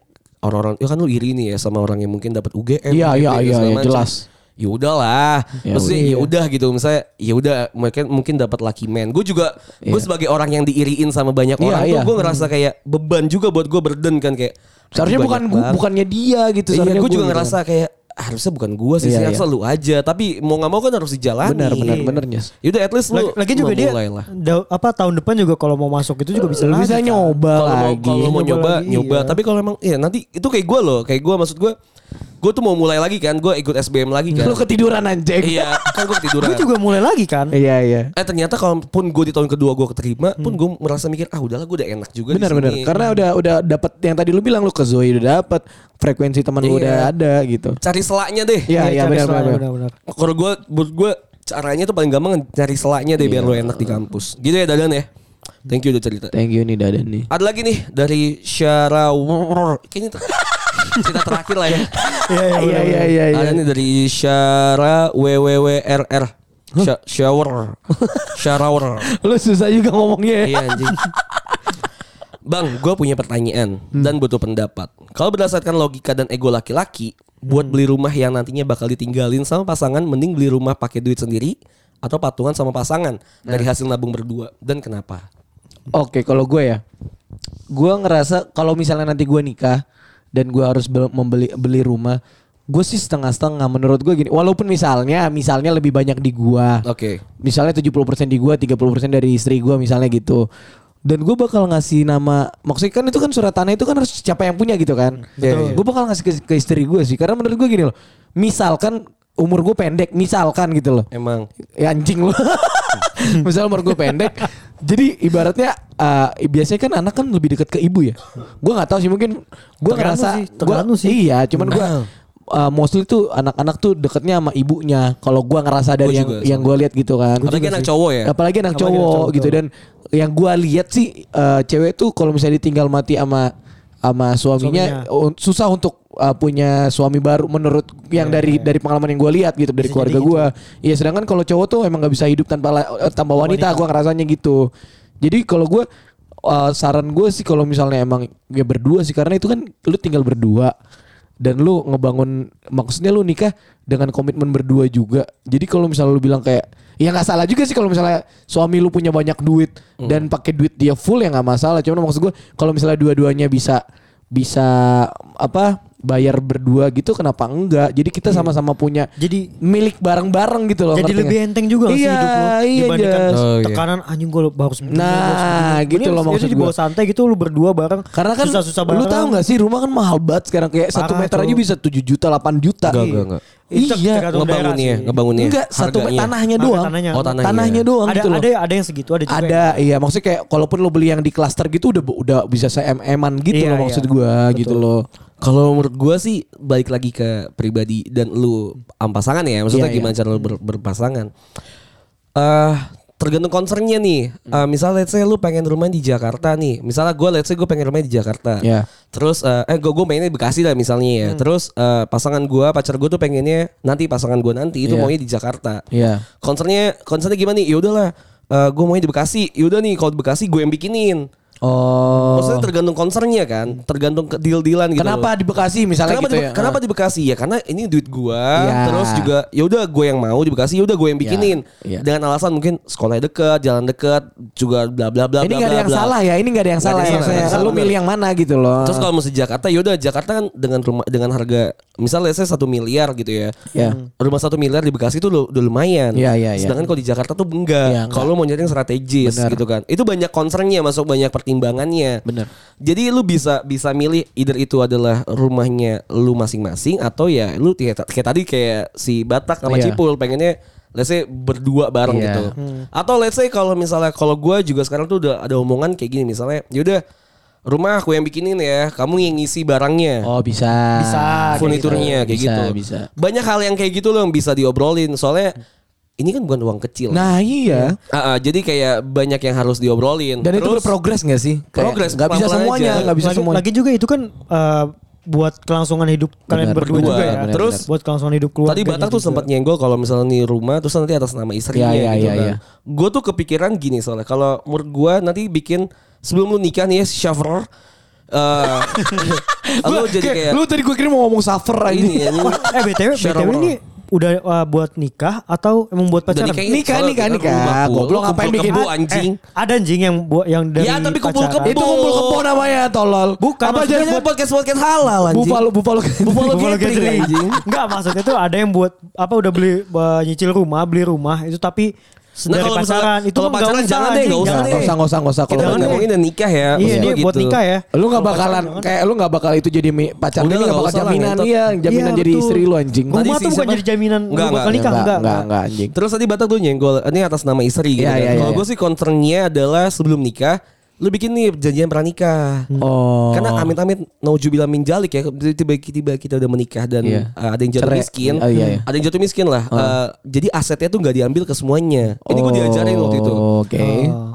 S2: orang-orang ya kan lu iri nih ya sama orang yang mungkin dapat UGM
S3: Iya,
S2: gitu
S3: iya,
S2: ya,
S3: iya,
S2: segala
S3: iya,
S2: macam.
S3: jelas.
S2: ya udahlah
S3: Ya
S2: maksudnya ya udah gitu misalnya ya udah mungkin mungkin dapat lucky man gue juga gue sebagai orang yang diiriin sama banyak
S3: Iya,
S2: orang
S3: iya.
S2: tuh gue ngerasa kayak beban juga buat gue burden kan kayak
S3: Seharusnya
S2: aduh,
S3: bukan
S2: banyak
S3: gua-
S2: banget.
S3: bukannya dia gitu.
S2: Iya,
S3: seharusnya
S2: gue juga
S3: gitu kan.
S2: ngerasa kayak harusnya bukan gua sih,
S3: Iya,
S2: sih harusnya lu aja. Tapi mau nggak mau kan harus dijalani.
S3: Benar, benar, benar, Nyes.
S2: Yaudah at least lu
S4: Lagi, lagi juga dia
S2: memulai lah.
S4: da- apa tahun depan juga kalau mau masuk itu juga bisa
S3: Lu
S4: lagi,
S3: bisa
S4: kan.
S3: nyoba
S2: kalau mau
S3: lagi.
S2: kalau mau
S4: nyoba
S2: nyoba
S4: lagi,
S2: nyoba
S4: iya.
S2: tapi kalau emang ya nanti itu kayak gue loh kayak gue maksud gue gue tuh mau mulai lagi kan gue ikut SBM lagi kan
S3: Lu ketiduran anjing.
S2: iya kan gue ketiduran
S4: Gue juga mulai lagi kan.
S3: Iya, iya.
S2: eh ternyata kalaupun gue di tahun kedua gue keterima pun gue merasa mikir ah udahlah gue udah enak juga
S3: Hmm. Benar
S2: di
S3: benar.
S2: sini.
S3: Karena udah udah dapat yang tadi lu bilang lu ke Zoe udah dapat, frekuensi teman lu
S2: Iya.
S3: udah ada gitu.
S2: cari selaknya deh
S3: Iya iya
S4: cari
S3: benar
S4: soalnya,
S3: benar.
S4: benar.
S2: kalau gue buat gue caranya tuh paling gampang cari selaknya deh
S3: Iya.
S2: biar lo enak di kampus gitu ya dadan ya thank you udah cerita
S3: Thank you nih Dadan nih.
S2: ada lagi nih dari Syara kayaknya ter- *laughs* cerita terakhir lah ya
S4: Iya
S3: Iya
S4: iya,
S3: iya
S4: benar, benar.
S3: iya iya.
S2: Ada nih Ah, dari Syara WWWRR. Sya- Shower.
S3: *laughs*
S2: Shower.
S3: Lu susah juga ngomongnya. ya.
S2: Iya anjing. Bang, gue punya pertanyaan
S3: Hmm.
S2: dan butuh pendapat. Kalau berdasarkan logika dan ego laki-laki, buat
S3: Hmm.
S2: beli rumah yang nantinya bakal ditinggalin sama pasangan, mending beli rumah pakai duit sendiri atau patungan sama pasangan
S3: Nah.
S2: dari hasil nabung berdua. Dan kenapa?
S3: Oke, kalau gue ya. Gue ngerasa kalau misalnya nanti gue nikah dan gue harus bel- membeli beli rumah, gue sih setengah-setengah menurut gue gini. Walaupun misalnya misalnya lebih banyak di gua.
S2: Oke.
S3: misalnya 70% di gua, 30% dari istri gua misalnya gitu. Dan gue bakal ngasih nama Maksudnya kan itu kan surat tanah itu kan harus siapa yang punya gitu kan Gue bakal ngasih ke, ke istri gue sih Karena menurut gue gini loh Misalkan umur gue pendek Misalkan gitu loh
S2: Emang
S3: Ya anjing lu *laughs* Misalnya umur gue pendek Jadi ibaratnya eh, Biasanya kan anak kan lebih dekat ke ibu ya Gue gak tahu sih mungkin Gue
S4: Tergantung
S3: ngerasa
S4: sih, tergantung
S3: gua-
S4: sih.
S3: Iya cuman gue mostly tuh anak-anak tuh deketnya sama ibunya. Kalau gua ngerasa dari
S2: Gua
S3: yang
S2: juga
S3: yang gua lihat gitu kan.
S2: Apalagi anak cowok ya?
S3: Apalagi anak
S4: Apalagi anak
S3: cowok
S4: cowok,
S3: gitu
S4: betul.
S3: dan yang gua lihat sih eh, cewek tuh kalau misalnya ditinggal mati sama sama suaminya,
S4: Suaminya.
S3: un- susah untuk eh, punya suami baru menurut yang dari dari pengalaman yang gua lihat gitu dari keluarga gua. Iya sedangkan kalau cowok tuh emang nggak bisa hidup tanpa la- eh, tanpa wanita, gua ngerasanya gitu. Jadi kalau gua eh, saran gue sih kalau misalnya emang ya berdua sih karena itu kan lu tinggal berdua dan lu ngebangun maksudnya lu nikah dengan komitmen berdua juga. Jadi kalau misalnya lu bilang kayak ya nggak salah juga sih kalau misalnya suami lu punya banyak duit dan pakai duit dia full ya nggak masalah. Cuman maksud gue kalau misalnya dua-duanya bisa bisa apa bayar berdua gitu kenapa enggak? Jadi kita sama-sama punya
S4: Jadi-
S3: milik bareng-bareng gitu loh.
S4: Jadi
S3: ngerti
S4: lebih
S3: nggak?
S4: enteng juga nggak sih
S3: iya,
S4: hidup lu
S3: Iya,
S4: dibandingkan
S3: Jas.
S2: Oh, iya.
S4: tekanan anjing gue harus begini,
S3: Nah,
S4: gua harus begini.
S3: gitu loh
S4: Mending
S3: maksud
S4: itu dibawa
S3: gua.
S4: santai gitu lu berdua bareng.
S3: Karena kan
S4: susah-susah
S3: lu
S4: bareng.
S3: tahu nggak sih rumah kan mahal banget sekarang kayak satu
S4: Parah,
S3: meter aja
S4: Cok.
S3: bisa 7 juta 8 juta.
S2: Enggak, enggak, enggak.
S4: Itu
S3: Iya,
S4: tergantung daerah
S2: ngebangunnya,
S4: sih.
S2: ngebangunnya.
S3: Enggak, satu
S2: ya, harganya.
S3: tanahnya
S4: Harga
S3: doang.
S4: tanahnya.
S2: Oh, tanahnya.
S3: doang
S4: Ada
S3: gitu loh.
S4: ada ada yang segitu ada juga. ya? yang-
S3: Ada, iya maksudnya kayak kalaupun lo beli yang di klaster gitu udah udah bisa saya eman gitu
S4: Iya,
S3: loh maksud
S4: iya.
S3: gua gitu loh.
S2: Kalau menurut gue sih balik lagi ke pribadi dan lu am pasangan ya,
S3: Iya,
S2: maksudnya
S3: iya.
S2: gimana cara lu ber- berpasangan. Eh tergantung concernnya nih.
S3: Hmm.
S2: Eh misal let's say lu pengen rumah di Jakarta nih. Misalnya gue let's say gue pengen rumah di Jakarta.
S3: Iya. Hmm.
S2: Terus eh, eh gue gue mainnya di Bekasi lah misalnya ya. Terus eh, pasangan gue pacar gue tuh pengennya nanti pasangan gue nanti itu
S3: Iya.
S2: maunya di Jakarta.
S3: Iya.
S2: Concernnya concernnya gimana nih? Ya udahlah. eh gue maunya di Bekasi. Yaudah nih kalau di Bekasi gue yang bikinin.
S3: Oh.
S2: Maksudnya tergantung concernnya kan, tergantung ke deal-dealan gitu.
S3: kenapa
S2: loh.
S3: di Bekasi misalnya
S2: Kenapa,
S3: gitu
S2: di,
S3: ya?
S2: kenapa di Bekasi ya? Karena ini duit gua,
S3: Iya.
S2: terus juga ya udah gue yang mau di Bekasi, ya udah gue yang bikinin.
S3: Iya.
S2: Dengan alasan mungkin sekolah dekat, jalan dekat, juga bla bla bla.
S3: ini
S2: bla,
S3: nggak ada
S2: bla,
S3: yang
S2: bla.
S3: salah ya, ini nggak ada yang
S2: Nggak
S3: salah.
S2: ada yang
S3: ya.
S2: salah,
S3: Saya
S2: nggak
S3: lu
S2: ada yang
S3: milih yang mana gitu loh.
S2: Terus kalau mesti Jakarta, ya udah Jakarta kan dengan rumah dengan harga misalnya saya satu miliar gitu ya.
S3: Iya.
S2: Rumah satu miliar di Bekasi itu lu- udah lumayan.
S3: Iya, iya, iya.
S2: Sedangkan kalau di Jakarta tuh
S3: Iya,
S2: enggak.
S3: enggak.
S2: Kalau lu mau nyari yang strategis
S3: Bener.
S2: gitu kan. Itu banyak concernnya masuk banyak pertimbangannya.
S3: Bener.
S2: Jadi lu bisa bisa milih either itu adalah rumahnya lu masing-masing atau ya lu kayak, kayak tadi kayak si Batak sama
S3: Iya.
S2: Cipul pengennya let's say berdua bareng
S3: Iya.
S2: gitu. Atau let's say kalau misalnya kalau gua juga sekarang tuh udah ada omongan kayak gini misalnya yaudah rumah aku yang bikinin ya, kamu yang ngisi barangnya
S3: Oh, bisa. gitu.
S4: Bisa, kayak
S2: furniturnya kayak
S3: Bisa,
S2: gitu.
S3: Bisa.
S2: Banyak hal yang kayak gitu loh yang bisa diobrolin. Soalnya ini kan bukan uang kecil.
S3: Nah, iya.
S2: Ah, ah, jadi kayak banyak yang harus diobrolin.
S3: Dan itu
S2: Terus,
S3: berprogres gak sih? Kayak
S2: Progres,
S3: Gak bisa
S2: pelan-pelan
S3: semuanya,
S2: aja.
S3: gak bisa
S4: lagi,
S3: semuanya.
S4: lagi juga itu kan eh, buat kelangsungan hidup kalian
S3: Benar,
S4: berdua,
S2: berdua.
S4: juga ya.
S2: Benar, Terus- benar.
S4: buat kelangsungan hidup keluarga. gitu.
S2: tadi Batak tuh sempat nyenggol kalau misalnya nih rumah terus nanti atas nama
S3: gitu.
S2: istrinya
S3: Iya, iya,
S2: gitu
S3: iya,
S2: kan.
S3: iya.
S2: Gue tuh kepikiran gini soalnya kalau menurut gue nanti bikin sebelum lu nikah nih ya
S3: *laughs*
S2: shower eh lu jadi kayak
S3: Lu tadi gue kira mau ngomong suffer aja.
S2: *laughs* ini ya, ini.
S4: eh BTW,
S2: Share
S4: BTW
S2: sama
S4: ini udah uh, buat nikah atau emang buat
S2: Udah
S4: pacaran?
S2: nikah,
S3: Nikah,
S2: soalnya
S3: nikah,
S2: kita
S3: nikah.
S2: rumah pool.
S3: Goblok,
S2: Lu
S3: ngapain
S2: kumpul
S3: bikin-
S2: kebu
S4: Eh,
S2: anjing.
S4: ada anjing yang buat yang dari
S2: Ya, tapi kumpul
S4: pacaran.
S2: kebo.
S3: *laughs* Itu kumpul kebo namanya ya, tolol.
S4: Bukan,
S3: Apa
S4: maksudnya
S3: jadinya
S2: Ini podcast-podcast halal anjing.
S3: Buffalo Buffalo Eh,
S2: Buffalo
S4: Buffalo
S2: gathering,
S4: gathering.
S2: anjing.
S4: gitu *laughs* Enggak maksudnya tuh ada yang buat apa udah beli uh, nyicil rumah, beli rumah itu tapi
S2: Nah,
S4: dari
S2: kalau misalnya-
S4: pacaran itu
S2: kalau
S4: mah
S2: pacaran
S4: nggak usah,
S2: jangan deh,
S4: anjing.
S2: Eh, nggak usah
S4: Jangan
S2: deh.
S3: Enggak usah enggak usah enggak usah kalau
S2: Kita kan
S4: Jangan
S3: pacaran.
S2: ngomongin dan nikah ya.
S4: Iya, ini
S2: maksud gua
S4: buat
S2: gitu.
S4: nikah ya.
S3: Lu gak bakalan kayak lu gak bakal itu jadi mi- pacar
S2: Udah
S3: lu
S2: nggak
S3: gak bakal
S2: usah lah,
S3: jaminan
S2: ngentot.
S3: iya jaminan
S4: Iya,
S3: jadi
S4: betul.
S3: istri lu anjing.
S2: Tadi
S4: Rumah
S2: si
S4: tuh bukan
S2: siapa?
S4: jadi jaminan lu
S2: Enggak,
S4: bakal
S2: enggak,
S4: nikah, enggak.
S3: enggak enggak anjing.
S2: Terus tadi Batak tuh nyenggol, ini atas nama istri gitu.
S3: Iya,
S2: kan.
S3: iya,
S2: Kalau
S3: iya.
S2: gue sih concernnya adalah sebelum nikah, lu bikin nih perjanjian pranikah.
S3: Oh.
S2: Karena amit-amit naujubillah min jalik ya tiba-tiba kita udah menikah dan
S3: Iya.
S2: uh, ada yang jatuh
S3: Cerai.
S2: miskin,
S3: Oh, iya, iya.
S2: ada yang jatuh miskin lah. Uh, jadi asetnya tuh nggak diambil ke semuanya. Ini gue
S3: Oh,
S2: diajarin waktu itu.
S3: Oke.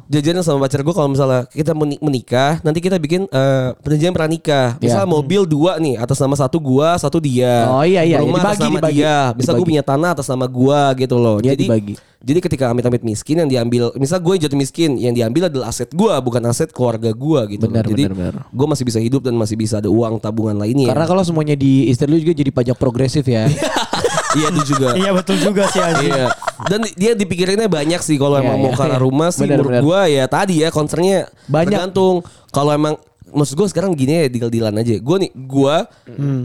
S2: Jajarin sama pacar gue kalau misalnya kita meni- menikah, nanti kita bikin eh, perjanjian pranikah. Misal
S3: Iya.
S2: mobil dua nih atas nama satu gua, satu dia.
S3: Oh, iya, iya, iya.
S2: Rumah atas
S3: Dibagi,
S2: nama
S3: dibagi.
S2: dia. Misal gue
S3: Dibagi.
S2: punya tanah atas nama gua gitu loh.
S3: Iya,
S2: jadi
S3: dibagi.
S2: Jadi ketika amit-amit miskin yang diambil, misal gue jatuh miskin, yang diambil adalah aset gua, bukan aset keluarga gua gitu. loh.
S3: Benar,
S2: jadi
S3: benar, benar.
S2: gue masih bisa hidup dan masih bisa ada uang tabungan lainnya.
S3: Karena kalau semuanya di istri lu juga jadi pajak progresif
S2: *laughs*
S3: ya.
S2: iya itu
S3: *laughs*
S2: juga.
S4: Iya betul juga sih anjing.
S2: Iya. Dan di- dia dipikirinnya banyak sih kalau
S3: Iya,
S2: emang mau
S3: iya.
S2: ke arah rumah sih
S3: Benar,
S2: menurut
S3: benar.
S2: gua ya tadi ya concernnya
S3: Banyak.
S2: tergantung kalau emang maksud gua sekarang gini ya deal-dealan aja. Gua nih gua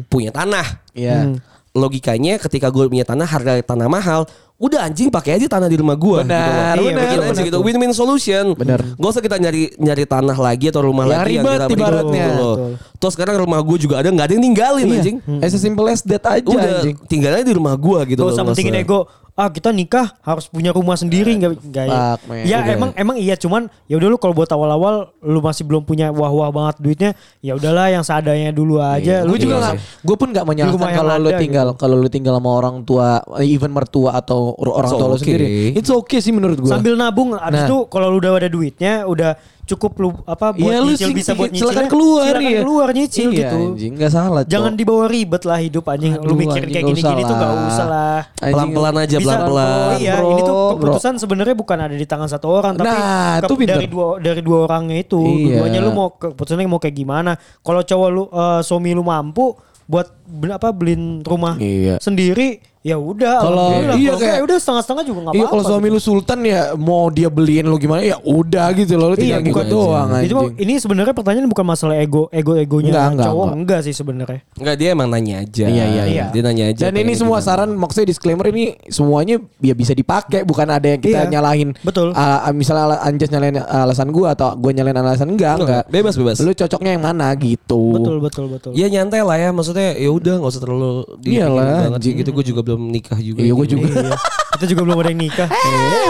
S2: punya tanah.
S3: Hmm.
S2: Hmm.
S3: Iya.
S2: Logikanya ketika gua punya tanah harga tanah mahal, udah anjing pakai aja tanah di rumah gua
S3: Benar,
S2: gitu. loh.
S3: benar,
S2: Bikin aja
S3: benar
S2: gitu. Win-win solution.
S3: Benar.
S2: Gak usah kita nyari nyari tanah lagi atau rumah
S3: Yang
S2: lagi
S3: ribet
S2: kita ribet
S3: ibaratnya. Iya.
S2: gitu loh.
S4: Betul.
S2: Terus sekarang rumah gua juga ada nggak ada yang ninggalin anjing.
S3: As simple as that aja
S2: Udah
S3: anjing.
S2: tinggalnya di rumah gua gitu
S4: Gak
S2: loh.
S4: usah
S2: nggak
S4: pentingin
S2: usah.
S4: ego. Ah kita nikah harus punya rumah sendiri nggak nggak ya.
S3: Nah, fuck, man.
S4: Ya
S3: Udah.
S4: emang emang iya cuman ya udah lu kalau buat awal-awal lu masih belum punya wah-wah banget duitnya ya udahlah yang seadanya dulu
S3: Iya,
S4: aja. Lu
S3: Gue Ya, juga
S4: juga
S3: gak, gue pun gak menyalahkan
S4: rumah yang
S3: kalau lu
S4: ada
S3: tinggal kalau lu tinggal sama orang tua, even mertua atau or- orang
S2: It's
S3: tua lu
S2: okay.
S3: sendiri. It's okay sih menurut gue.
S4: sambil nabung abis
S3: Nah.
S4: itu kalau lu udah ada duitnya udah cukup lu apa buat
S3: Iya, lu
S4: nyicil
S3: sing-
S4: bisa buat nyicil.
S3: silakan keluar
S4: silakan
S3: ya.
S4: keluar nyicil
S3: Iya,
S4: gitu.
S3: Anjing gak salah. Cok.
S4: Jangan dibawa ribet lah hidup anjing.
S3: Aduh,
S4: lu mikirin
S3: anjing,
S4: kayak
S3: gak
S4: gini-gini
S3: usah
S4: tuh gak
S3: lah.
S4: usah lah.
S3: Anjing,
S2: Pelan-pelan aja
S4: Bisa-
S2: pelan-pelan.
S4: Iya,
S3: Bro,
S4: ini tuh
S3: bro.
S4: keputusan sebenarnya bukan ada di tangan satu orang, tapi
S3: Nah,
S4: ke-
S3: itu pinter.
S4: dari dua dari dua orangnya itu,
S3: Iya.
S4: dua-duanya lu mau ke- keputusannya mau kayak gimana. Kalau cowok lu eh, suami lu mampu buat beli apa beliin rumah
S3: Iya.
S4: sendiri, ya udah.
S3: Kalau-
S4: alhamdulillah.
S3: iya,
S4: Kalau enggak,
S3: kayak-
S4: ya udah setengah-setengah juga nggak
S3: Iya
S4: apa-apa. gitu.
S3: kalau suami lu sultan ya mau dia beliin lu gimana ya udah gitu Ya, loh lu
S4: Iya,
S3: tinggal ngikut
S4: bukan-
S3: doang
S4: Jadi
S3: anjing.
S4: cuma- ini sebenarnya pertanyaan bukan masalah ego ego egonya
S3: Enggak, enggak,
S4: cowok
S3: enggak. Oh.
S4: enggak, sih sebenarnya.
S2: Enggak dia emang nanya aja.
S3: Iya, iya,
S4: iya.
S2: Dia nanya aja. gitu kan.
S3: Dan ini
S2: pengen
S3: semua
S2: gimana.
S3: saran maksudnya disclaimer ini semuanya ya bisa dipakai bukan ada yang kita
S4: Iya.
S3: nyalahin.
S4: Betul.
S3: Ah, ah, misalnya ala- Anjas nyalain alasan gua atau gua nyalain alasan enggak enggak.
S2: Bebas bebas.
S3: Lu cocoknya yang mana gitu.
S4: Betul betul betul.
S2: Ya nyantai lah ya maksudnya ya udah nggak usah terlalu dipikirin
S3: Iyalah,
S2: banget sih
S3: Iya anjing.
S2: gitu gue juga belum nikah juga. gitu.
S3: Iya gue juga. *laughs*
S4: Iya. Kita juga belum ada yang nikah.
S2: *laughs*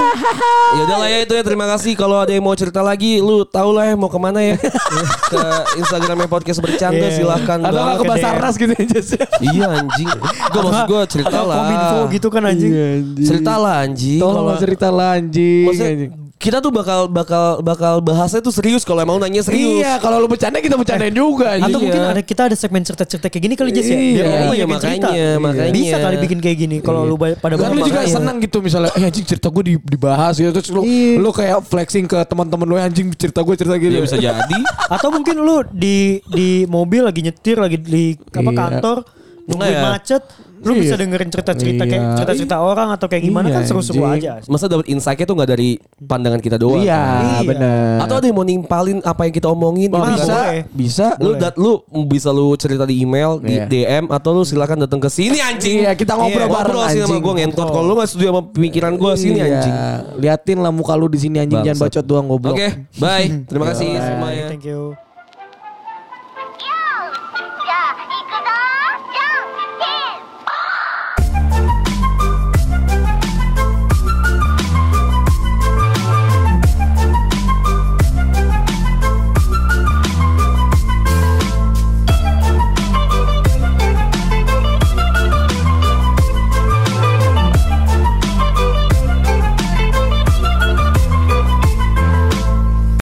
S2: Ya udahlah ya itu ya terima kasih kalau ada yang mau cerita lagi lu tau lah ya mau kemana
S3: *laughs*
S2: ya ke Instagramnya podcast bercanda
S4: Iya.
S2: silahkan
S3: Atau
S2: banget.
S3: nggak ke
S4: Oke deh.
S3: Basarnas gitu aja sih.
S2: Iya anjing. Gue maksud gue cerita
S4: Atau
S2: lah.
S4: kominfo gitu kan *laughs* anjing.
S2: Cerita lah anjing.
S3: Iya, Tolong iya,
S2: Kalau-
S3: lah cerita lanjut.
S2: maksudnya kita tuh bakal bakal bakal bahasnya tuh serius kalau emang nanya serius.
S3: Iya, kalau lu bercanda kita bercandain juga.
S4: Eh, Atau
S3: anjing.
S4: mungkin ada kita ada segmen cerita-cerita kayak gini kali Jess
S3: Iya,
S4: ya. Biar orang
S2: iya,
S4: banyakin cerita.
S2: makanya, makanya.
S4: Bisa kali bikin kayak gini kalau lu ba- pada
S3: Kan
S4: banyak
S3: lu juga
S4: cerita.
S3: senang gitu misalnya, eh anjing cerita gue di- dibahas gitu terus lu
S4: Iya.
S3: lu kayak flexing ke teman-teman lu "Eh, anjing cerita gue cerita gitu.
S2: Iya bisa jadi.
S4: Atau mungkin lu di di mobil lagi nyetir lagi di apa
S3: Iya. ya.
S4: kantor nungguin
S2: Iya.
S4: macet, lu
S3: Iya.
S4: bisa dengerin cerita-cerita kayak
S3: Iya.
S4: cerita-cerita orang atau kayak gimana
S3: Iya,
S4: kan seru-seru
S3: anjing.
S4: aja.
S2: Masa dapat insight-nya tuh nggak dari pandangan kita doang. kan?
S3: Iya,
S4: Iya.
S3: benar.
S2: Atau ada yang mau nimpalin apa yang kita omongin
S3: Oh,
S2: gitu.
S3: bisa,
S4: boleh.
S3: bisa.
S2: Lu
S4: Boleh.
S2: dat lu bisa lu cerita di email, di
S3: Iya.
S2: DM atau lu silakan datang ke sini anjing.
S3: Iya, kita ngobrol bareng,
S2: ngobrol sini sama
S3: anjing.
S2: gua ngentot. Kalau lu gak setuju sama pemikiran gua sini
S3: Iya.
S2: anjing.
S3: Liatin lah muka lu di sini anjing jangan
S2: Bangsat.
S3: bacot doang
S2: Oke,
S3: goblok. Iya,
S2: bye. Terima kasih semuanya.
S4: Thank you.